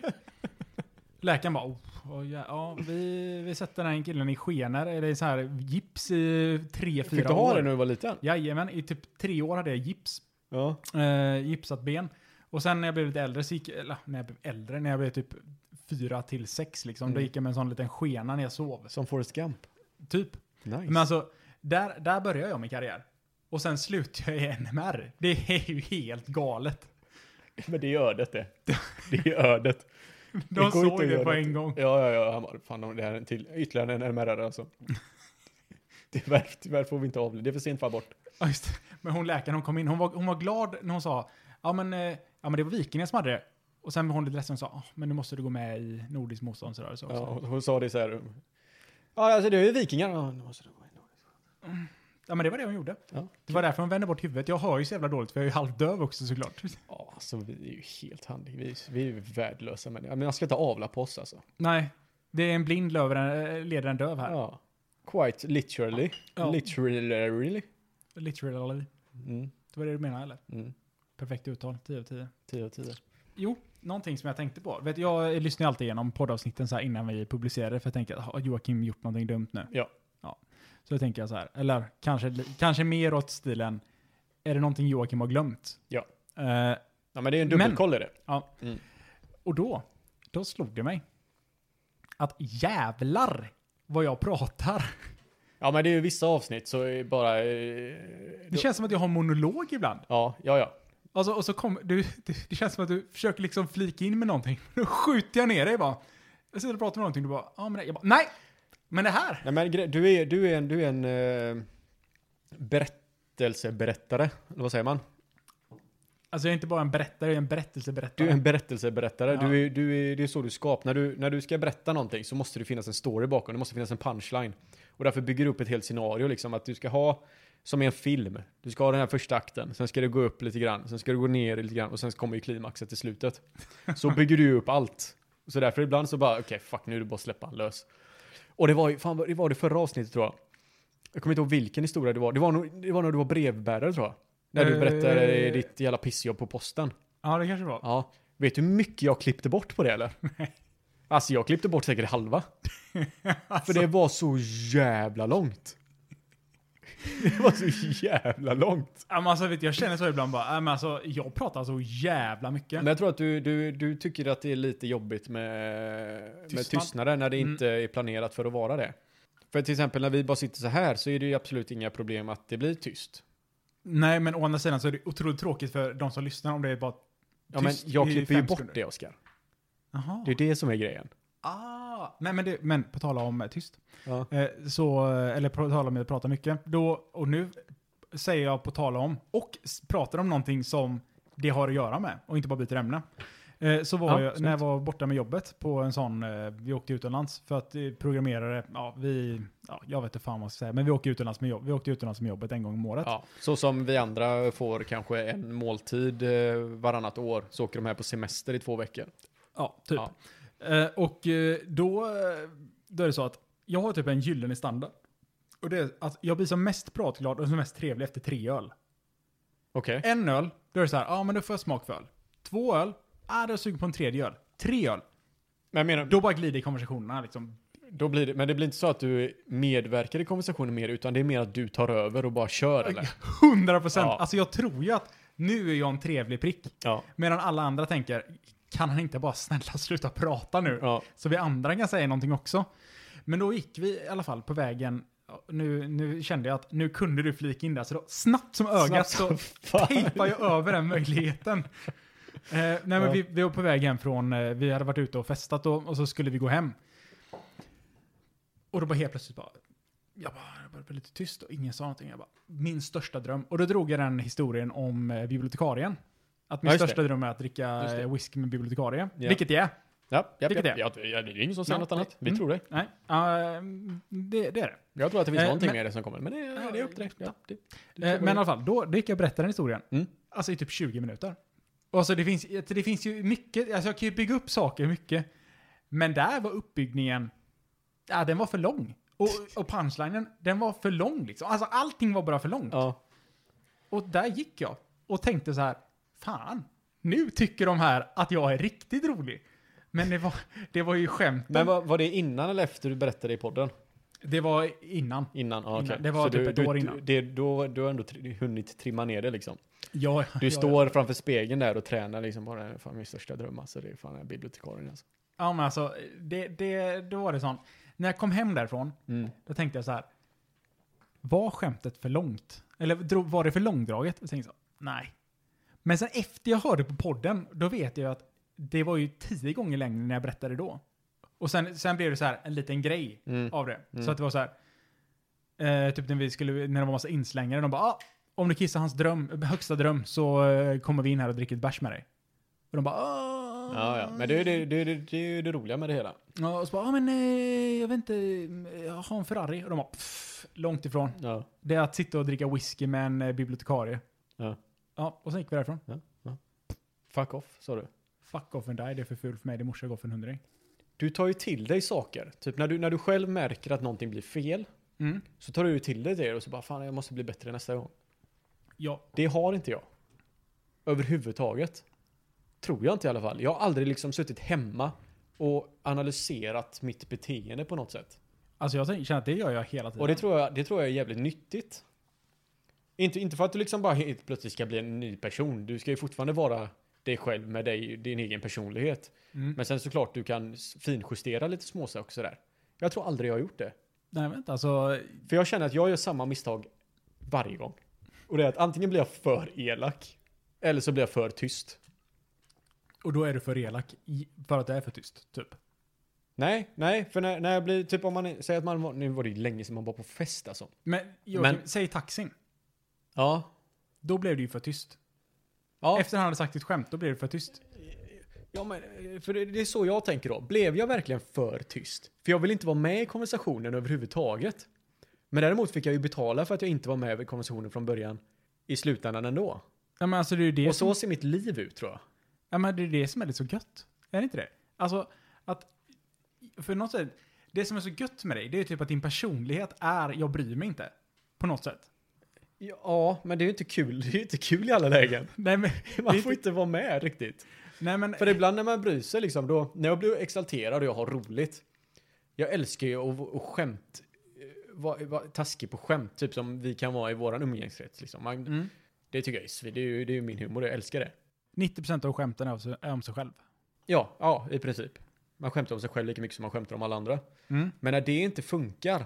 Läkaren bara, oh, oh, ja, ja, vi, vi sätter den här killen i skenor, eller i så här gips i tre,
Fick
fyra
du ha
år.
det när du var liten?
Jajamän, i typ tre år hade jag gips.
Ja.
eh, gipsat ben. Och sen när jag blev lite äldre, så gick, eller när jag blev äldre, när jag blev typ fyra till sex liksom, då
Mm.
gick jag med en sån liten skena när jag sov.
Som Forrest Gump.
Typ.
Nice.
Men alltså, där, där började jag min karriär. Och sen slutade jag i NMR. Det är ju helt galet.
Men det är ödet det. Det är ödet. går
De såg
inte att
det på
göra.
en gång.
Ja, ja, ja. Han bara, fan, om det här är en till, ytterligare en NMR-are alltså. Tyvärr, tyvärr får vi inte avliva. Det är för sent för abort.
Ja, just det. Men hon läkaren, hon kom in, hon var, hon var glad när hon sa, ja men, eh, ja men det var vikingen som hade det. Och sen var hon lite ledsen och sa, "Ah, men nu måste du gå med i Nordisk motståndsrörelse också.
Ja, hon, hon sa det så här. Ja, alltså det är ju vikingar. Ja, nu måste det vara en-
Ja men det var det hon gjorde.
Ja.
Det var därför hon vände bort huvudet. Jag hör ju så jävla dåligt för jag är ju halvdöv också såklart.
ja, alltså vi är ju helt handiga. Vi, är- vi är ju värdelösa människor. Ja, Men jag ska inte avla på oss alltså.
Nej, det är en blind löver, eh, leder en döv här.
Ja. Quite literally.
Ja.
Literally.
Literally.
Mm.
Det var det du menade eller?
Mm.
Perfekt uttal, 10 av 10.
10 av 10.
Jo, någonting som jag tänkte på. Vet, jag lyssnar ju alltid igenom poddavsnitten så här innan vi publicerar för jag tänker att har Joakim gjort någonting dumt nu?
Ja.
ja. Så då tänker jag så här, eller kanske, li- kanske mer åt stilen, är det någonting Joakim har glömt?
Ja.
Eh,
Ja, men det är en
Men-
dubbelkoll är det.
Och då, då slog det mig. Att jävlar vad jag pratar.
Ja, men det är ju vissa avsnitt så är bara... eh,
Det känns som att jag har monolog ibland.
Ja, ja, ja.
Alltså, och så kom, du, det, det känns som att du försöker liksom flika in med någonting. Då skjuter jag ner dig bara. Jag sitter och pratar om någonting du bara, ja men det, jag bara, nej! Men det här!
Nej, men gre- du är, du är en, du är en eh, berättelseberättare. Eller vad säger man?
Alltså jag är inte bara en berättare, jag är en
Du
berättelseberättare.
är en berättelseberättare.
Ja.
Du är, du är, det är så du skapar. När du, när du ska berätta någonting så måste det finnas en story bakom. Det måste finnas en punchline. Och därför bygger du upp ett helt scenario. Liksom, att du ska ha, som i en film, du ska ha den här första akten. Sen ska det gå upp lite grann. Sen ska det gå ner lite grann. Och sen kommer ju klimaxet till slutet. Så bygger du ju upp allt. Så därför ibland så bara, okej, fuck, nu är det bara att släppa han lös. Och det var ju, fan, det var det förra avsnittet tror jag. Jag kommer inte ihåg vilken historia det var. Det var, nog, det var när du var brevbärare tror jag. När du
Eh.
berättade ditt jävla pissjobb på posten.
Ja det kanske det var.
Ja. Vet du hur mycket jag klippte bort på det eller? Nej. Alltså jag klippte bort säkert halva. För det var så jävla långt. Det var så jävla långt.
Ja, men alltså, vet, du, jag känner så ibland bara, nej men alltså jag pratar så jävla mycket.
Men jag tror att du, du, du tycker att det är lite jobbigt med, med
Tystnad.
Mm. tystnaden när det inte är planerat för att vara det. För till exempel när vi bara sitter så här så är det ju absolut inga problem att det blir tyst.
Nej, men å andra sidan så är det otroligt tråkigt för de som lyssnar om det är bara tyst
Ja, men jag
i
klipper
fem
ju bort
sekunder.
det Oskar.
Jaha.
Det är det som är grejen.
Ah. Nej, men, det, men på tala om eh, tyst.
Ja.
Eh, så, eh, eller på tala om att prata mycket. Då, och nu säger jag på tala om och s- pratar om någonting som det har att göra med och inte bara byter ämne. Eh, Så var
Ja,
jag,
snyggt.
när jag var borta med jobbet på en sån, eh, vi åkte utomlands för att eh, programmerare, ja vi, ja, jag vet inte fan vad man ska säga, men vi åkte utomlands med, jobb, vi åkte utomlands med jobbet en gång om året.
Ja, så som vi andra får kanske en måltid eh, varannat år så åker de här på semester i två veckor.
Ja, typ.
Ja.
Eh, och eh, då, eh, då är det så att jag har typ en gyllene standard. Och det är att jag blir som mest pratglad och som mest trevlig efter tre öl.
Okej.
En öl, då är det så här, ja ah, men då får jag smak för öl. Två öl, ah, då är jag sugen på en tredje öl. Tre öl,
Men jag menar,
då bara glider konversationerna liksom.
Då blir det, men det blir inte så att du medverkar i konversationen mer, utan det är mer att du tar över och bara kör eller?
100 procent!
Ja.
Alltså jag tror ju att nu är jag en trevlig prick.
Ja.
Medan alla andra tänker, kan han inte bara snälla sluta prata nu?
ja.
Så vi andra kan säga någonting också. Men då gick vi i alla fall på vägen. Nu, nu kände jag att nu kunde du flika in där. Så då, snabbt som ögat
Snabbt
så
som fan.
tejpade jag över den möjligheten. Eh, nej, men
Ja.
vi, vi var på väg hem från, eh, vi hade varit ute och festat och, och så skulle vi gå hem. Och då bara helt plötsligt bara, jag bara, det blev lite tyst och ingen sa någonting. Jag bara, min största dröm. Och då drog jag den historien om eh, bibliotekarien. Att min
Ja, just det.
största dröm är att dricka
Just det.
eh, whisky med bibliotekarie.
Ja.
Vilket det är.
Ja, ja,
Vilket
ja,
är?
ja, ja, det är ingen som säger
Ja,
något annat. Vi
mm.
tror dig.
Nej, ja, det, det är
Jag tror att det finns
Eh,
någonting
men-
mer som kommer, men det, är- det är upp till dig. Ja, det, du
det. Eh,
tror
Men i
på
alla fall, då, då gick jag och berättade den historien.
Mm.
Alltså i typ 20 minuter. Och så det finns, det finns ju mycket, alltså jag kan ju bygga upp saker mycket. Men där var uppbyggningen, ja den var för lång. Och, och punchlinen, den var för lång liksom. Alltså allting var bara för långt.
det. ja.
Och där gick jag och tänkte så här, fan, nu tycker de här att jag är riktigt rolig. Men det var, det var ju skämt.
Men var, var det innan eller efter du berättade i podden?
Det var innan.
Innan? Ja,
Innan.
okej.
Det var
Så
typ
du,
ett
du,
år
du-
innan.
Det, då, du har ändå tri- hunnit trimma ner det liksom.
Jag,
Du
jag,
står framför spegeln där och tränar liksom bara, "Det är fan min största dröm alltså, det är fan den här bibliotekarien alltså.
Ja men alltså, det, det, då var det sån. När jag kom hem därifrån,
Mm.
då tänkte jag så här. Var skämtet för långt? Eller drog- var det för långdraget? Jag tänkte så, nej. Men sen efter jag hörde på podden, då vet jag ju att det var ju tio gånger längre när jag berättade då. Och sen, sen blev det så här en liten grej
Mm.
av det.
Mm.
Så att det var så här. Eh, typ när vi skulle, när det var massa inslängare, de bara ah, om du kissar hans dröm, högsta dröm så eh, kommer vi in här och dricker ett bärs med dig. Och de bara ah.
Ja, ja. Men det är ju det, det, det, det, är ju det roliga med det hela.
Ja, och så bara, ah, men eh, jag vet inte, eh, jag har en Ferrari. Och de bara, pff, långt ifrån.
Ja.
Det är att sitta och dricka whisky med en eh, bibliotekarie.
Ja.
Ja, och sen gick vi därifrån.
Fuck off, sa du.
Fuck off and die, det är för fult för mig, det morsa går för en hundring.
Du tar ju till dig saker. Typ när du, när du själv märker att någonting blir fel,
Mm.
så tar du ju till dig det och så bara fan jag måste bli bättre nästa gång.
Ja,
Det har inte jag. Överhuvudtaget. Tror jag inte i alla fall. Jag har aldrig liksom suttit hemma och analyserat mitt beteende på något sätt.
alltså jag tänker- känner att det gör jag hela tiden.
Och det tror jag, det tror jag är jävligt nyttigt. Inte, inte för att du liksom bara helt plötsligt ska bli en ny person. Du ska ju fortfarande vara dig själv med dig, din egen personlighet.
mm.
Men sen såklart du kan s- finjustera lite småsaker sådär. Jag tror aldrig jag har gjort det.
Nej, vänta, alltså.
För jag känner att jag gör samma misstag varje gång. Och det är att antingen blir jag för elak, eller så blir jag för tyst.
Och då är du för elak i- för att det är för tyst, typ.
Nej, nej, för när, när jag blir, typ om man säger att man var, nu var det ju länge sedan man var på fest alltså.
Men, Joakim,
Men-
säg taxin.
Ja.
Då blev det ju för tyst.
Ja,
Efter han hade sagt ett skämt, då blev det för tyst.
ja men, eh, för det, det är så jag tänker då. Blev jag verkligen för tyst? För jag vill inte vara med i konversationen överhuvudtaget. Men däremot fick jag ju betala för att jag inte var med i konversationen från början i slutändan ändå.
Ja, men alltså det är ju det
Och
som-
så ser mitt liv ut tror jag.
Ja men det är det som är lite så gött. Är det inte det? Alltså att... För något sätt, det som är så gött med dig, det är ju typ att din personlighet är jag bryr mig inte. På något sätt.
Ja, men det är ju inte kul. Det är ju inte kul i alla lägen.
Nej men...
Man får inte vara med riktigt.
Nej men...
För ibland när man bryr sig liksom, då, när jag blir exalterad och jag har roligt. Jag älskar ju att och skämt, eh, vara vara taskig på skämt, typ som vi kan vara i våran umgängeskrets liksom. Man,
Mm.
Det tycker jag är, svin- det är ju det är ju min humor, jag älskar det.
90% av skämten är om sig- är om sig själv.
Ja,
Mm,
ja, i princip. Man skämtar om sig själv lika mycket som man skämtar om alla andra. Men när det inte funkar,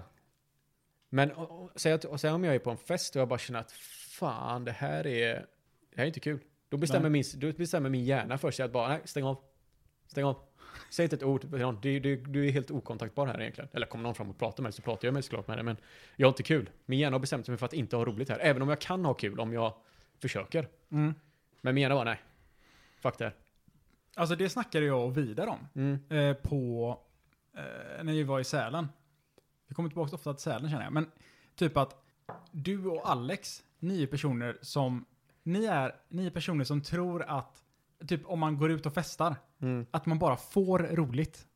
Men och, och, säg, att, och säg om jag är på en fest och jag bara känner att fan, det här är, det här är inte kul. Då bestämmer,
Nej.
min, då bestämmer min hjärna för sig att bara, nej, stäng av. Stäng av. Säg inte ett ord till någon. Du, du, du är helt okontaktbar här egentligen. Eller kommer någon fram och pratar med dig så pratar jag med dig såklart med dig. Men jag har inte kul. Min hjärna har bestämt sig för att inte ha roligt här. Även om jag kan ha kul om jag försöker.
Mm.
Men min hjärna bara, nej. Fuck det här.
Alltså det snackade jag och Vidar om
Mm.
eh, på, eh, när vi var i Sälen. Vi kommer tillbaka ofta till Sälen känner jag, men typ att du och Alex, ni är personer som, ni är, ni är personer som tror att, typ om man går ut och festar,
Mm.
att man bara får roligt.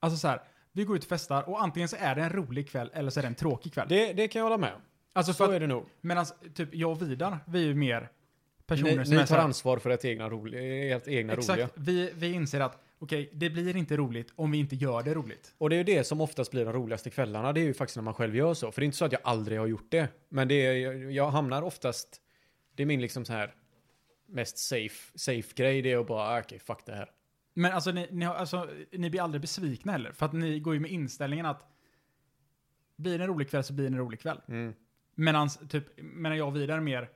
Alltså så här, vi går ut och festar och antingen så är det en rolig kväll eller så är det en tråkig kväll.
Det, det kan jag hålla med om.
alltså
Så
för
är
att,
det nog.
medan typ jag och Vidar, vi är ju mer personer
Ni,
som är
ni
så
tar
här,
ansvar för ert egna, roli, ert egna roliga.
Exakt, vi, vi inser att okej, det blir inte roligt om vi inte gör det roligt.
Och det är ju det som oftast blir de roligaste kvällarna. Det är ju faktiskt när man själv gör så. För det är inte så att jag aldrig har gjort det. Men det är, jag, jag hamnar oftast... Det är min liksom så här mest safe, safe grej. Det är att bara, ah, okej, fuck det här.
Men alltså ni, ni, har, alltså, ni blir aldrig besvikna heller, för att ni går ju med inställningen att blir det en rolig kväll så blir det en rolig kväll.
Mm.
Medan typ, medan jag och Vidar är mer,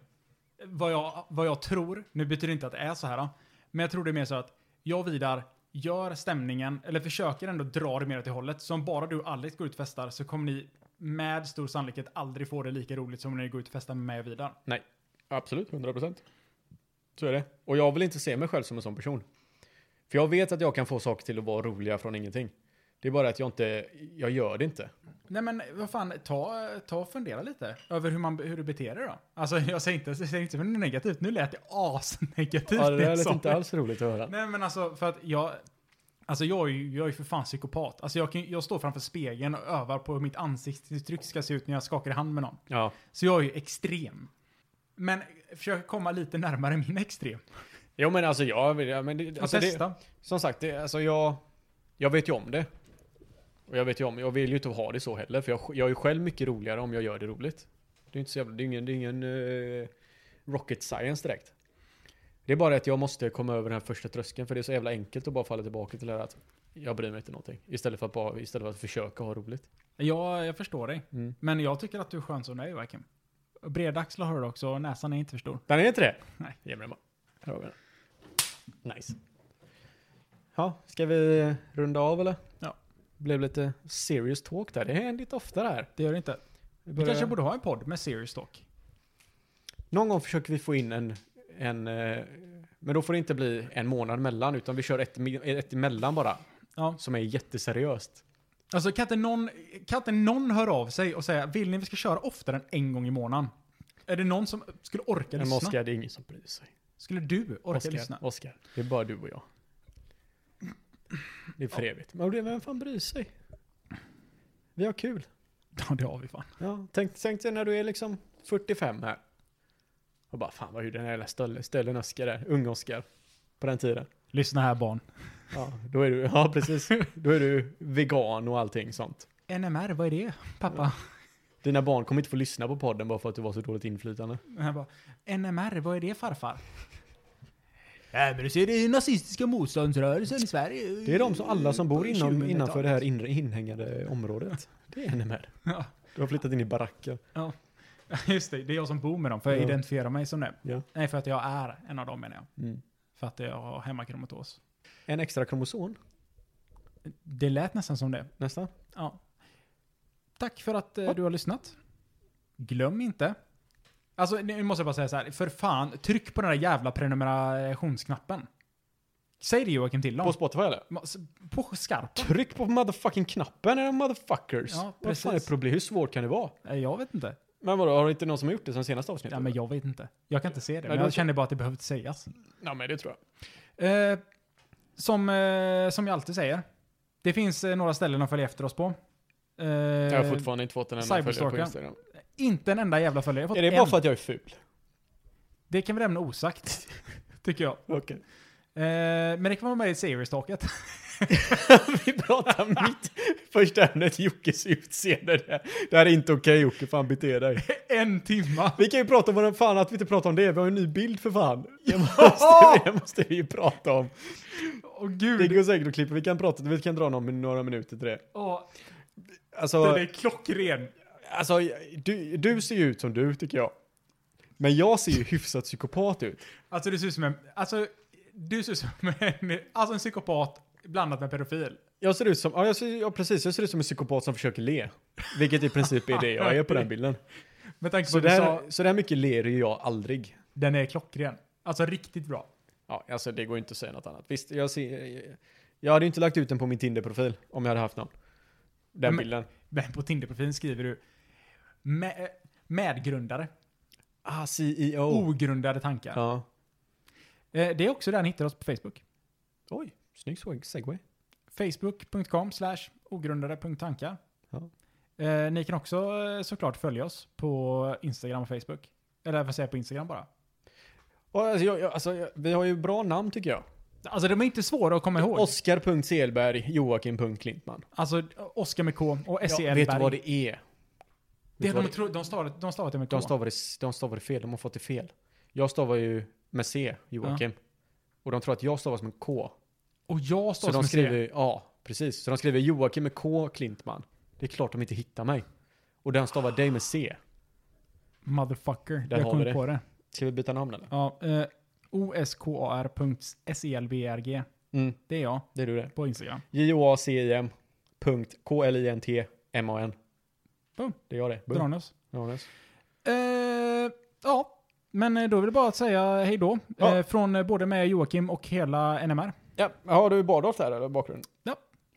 vad jag, vad jag tror, nu betyder det inte att det är så här, då, men jag tror det är mer så att jag och Vidar gör stämningen, eller försöker ändå dra det mer åt det hållet. Så om bara du och Alex går ut och festar så kommer ni med stor sannolikhet aldrig få det lika roligt som när ni går ut och festar med mig och Vidar.
Absolut, 100 procent. Så är det. Och jag vill inte se mig själv som en sån person. För jag vet att jag kan få saker till att vara roliga från ingenting. Det är bara att jag inte, jag gör det inte.
Nej men vad fan, ta, ta och fundera lite över hur, man, hur du beter dig då. Alltså jag säger inte, jag säger inte för något negativt, nu lät det asnegativt.
Ja, det
jag
där lät
sa.
inte alls roligt att höra.
Nej men alltså för att jag, alltså jag är ju jag är ju för fan psykopat. Alltså jag, kan, jag står framför spegeln och övar på hur mitt ansiktsuttryck ska se ut när jag skakar hand med någon.
Ja.
Så jag är ju extrem. Men försök komma lite närmare min extrem.
Jo men alltså jag vill, ja, men det,
Och
alltså, det,
testa.
Som sagt, det, alltså jag, jag vet ju om det. Och jag vet ju om, jag vill ju inte ha det så heller. För jag, jag är ju själv mycket roligare om jag gör det roligt. Det är ju inte så jävla, det är ingen, det är ingen eh, rocket science direkt. Det är bara att jag måste komma över den här första tröskeln. För det är så jävla enkelt att bara falla tillbaka till det här att jag bryr mig inte någonting. Istället för att, bara, istället för att försöka ha roligt.
Ja, jag förstår dig.
Mm.
Men jag tycker att du är skön som du är Joakim. Bredaxlar har du också och näsan är inte för stor.
Den är inte det?
Nej.
Ge mig den bara. Här har vi den. Nice. Ja, ska vi runda av eller?
Ja.
Blev lite serious talk där. Det händer inte ofta det här.
Det gör det inte. Vi
Vi börjar-
kanske borde ha en podd med serious talk.
Någon gång försöker vi få in en, en eh, men då får det inte bli en månad mellan, utan vi kör ett, me- ett emellan bara,
Ja.
som är jätteseriöst.
Alltså kan inte, någon, kan inte någon höra av sig och säga vill ni vi ska köra oftare än en gång i månaden? Är det någon som skulle orka
Men
lyssna?
Oskar, det är ingen som bryr sig.
Skulle du orka lyssna?
Oskar, Oskar, det är bara du och jag. Det är för evigt. Men det- vem fan bryr sig? Vi har kul.
Ja, det har vi fan.
Ja, tänk, tänk dig när du är liksom 45 här. Och bara, fan vad gjorde den här jävla stöllen, stöllen Oskar där, ung Oskar. På den tiden.
Lyssna här barn.
Ja, då är du, ja precis. Då är du vegan och allting sånt.
NMR, vad är det pappa?
Dina barn kommer inte få lyssna på podden bara för att du var så dåligt inflytande.
Jag bara, NMR, vad är det farfar? Ja, men du ser, det är nazistiska motståndsrörelsen i Sverige.
Det är de som alla som bor
På
inom,
2000-talet.
innanför det här inre, inhängade området. Det är NMR.
Ja.
Du har flyttat in i baracker.
Just det, det är jag som bor med dem, för jag
Ja.
identifierar mig som det.
Ja.
Nej, för att jag är en av dem menar jag. För att jag har hemmakromatos.
Mm. En extra kromosom.
Det lät nästan som det.
Nästa.
Ja. Tack för att eh,
Ja.
du har lyssnat. Glöm inte. Alltså, nu måste jag bara säga så här. För fan, tryck på den där jävla prenumerationsknappen. Säg det Joakim till
På
dem.
Spotify eller?
Ma- s- På skarpen?
Tryck på motherfucking knappen era motherfuckers.
Ja,
Vad fan är
precis.
problemet? Hur svårt kan det vara?
Nej, Eh, Jag vet inte.
Men vadå, har inte någon som har gjort det sen senaste avsnittet?
Ja, men jag vet inte. Jag kan inte se det. Men
då-
jag känner bara att det behövde sägas.
Nej, men det tror jag.
Eh, som, eh, som jag alltid säger. Det finns eh, några ställen att följa efter oss på. Eh,
Jag har fortfarande inte fått en enda följare på
Cyberstalkaren.
Instagram.
Inte en enda jävla följare. Jag har fått
Är det bara
en.
för att jag är ful?
det kan vi lämna osagt. tycker jag.
Okej.
Eh, men det kan vara med i seriestalket.
Vi pratar mitt första ämnet, Jockes utseende. Det- Det här är inte okej Jocke, fan bete dig.
en timma.
Vi kan ju prata om vad den fan att vi inte pratar om det. Vi har ju en ny bild för fan. Det måste, det måste vi ju prata om.
Åh
Det
gud.
går säkert att klippa. Vi kan prata, vi kan dra någon, några minuter till det.
Åh,
Alltså,
Den är klockren.
alltså du, du ser ju ut som du tycker jag. Men jag ser ju hyfsat psykopat ut.
Alltså du ser ut som en, alltså du ser ut som en, alltså en psykopat blandat med pedofil.
Jag ser ut som, ja, jag ser, ja precis, jag ser ut som en psykopat som försöker le. Vilket i princip är det jag är på den bilden.
Med tanke på
Så
att du
där,
sa,
så där mycket ler ju jag aldrig.
den är klockren. Alltså riktigt bra.
Ja, alltså det går inte att säga något annat. Visst, jag ser, jag hade ju inte lagt ut den på min Tinder-profil om jag hade haft någon. Den
Men-
bilden.
Men på Tinder-profilen skriver du med, medgrundare.
Ah, CEO.
Ogrundade tankar.
Ja.
Eh, Det är också där ni hittar oss på Facebook.
Oj, snygg seg- segway.
Facebook.com slash ogrundade.tankar.
Ja.
Eh, Ni kan också eh, såklart följa oss på Instagram och Facebook. Eller vad säger jag på Instagram bara.
Och Alltså, jag, jag, alltså, jag, vi har ju bra namn tycker jag.
Alltså de är inte svåra att komma ihåg.
Oskar.Selberg, Joakim.Klintman.
alltså Oskar med K och E SE
Ja,
ja,
vet du vad det är?
Det
Vet du vad
de, tro, de, stavar, de stavar det med K.
de, stavade, de stavade fel, de har fått det fel. Jag stavar ju med C, Joakim. Och de tror att jag stavas med K.
och jag
Så
stavar
de
som
skriver,
skriver...
ja, precis. Så de skriver Joakim med K, Klintman. Det är klart de inte hittar mig. Och den stavar dig med C.
Motherfucker.
Där
jag
har vi
kom
det.
på det.
Ska vi byta namn eller?
Ja, eh, E oskar.selbrg.
Mm,
Det är jag
det är du det.
på Instagram.
J-O-A-C-I-M. Punkt K-L-I-N-T. M-A-N.
Boom.
Det gör det.
Drar
Boom.
ni oss?
Johannes.
Eh, ja, men eh, då är det bara att säga hej då.
Ja.
Eh, från eh, både mig, Joakim och hela NMR.
Ja, har du Bardolf där eller bakgrund?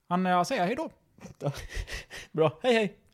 Han eh, säger hej då.
Bra. Hej hej!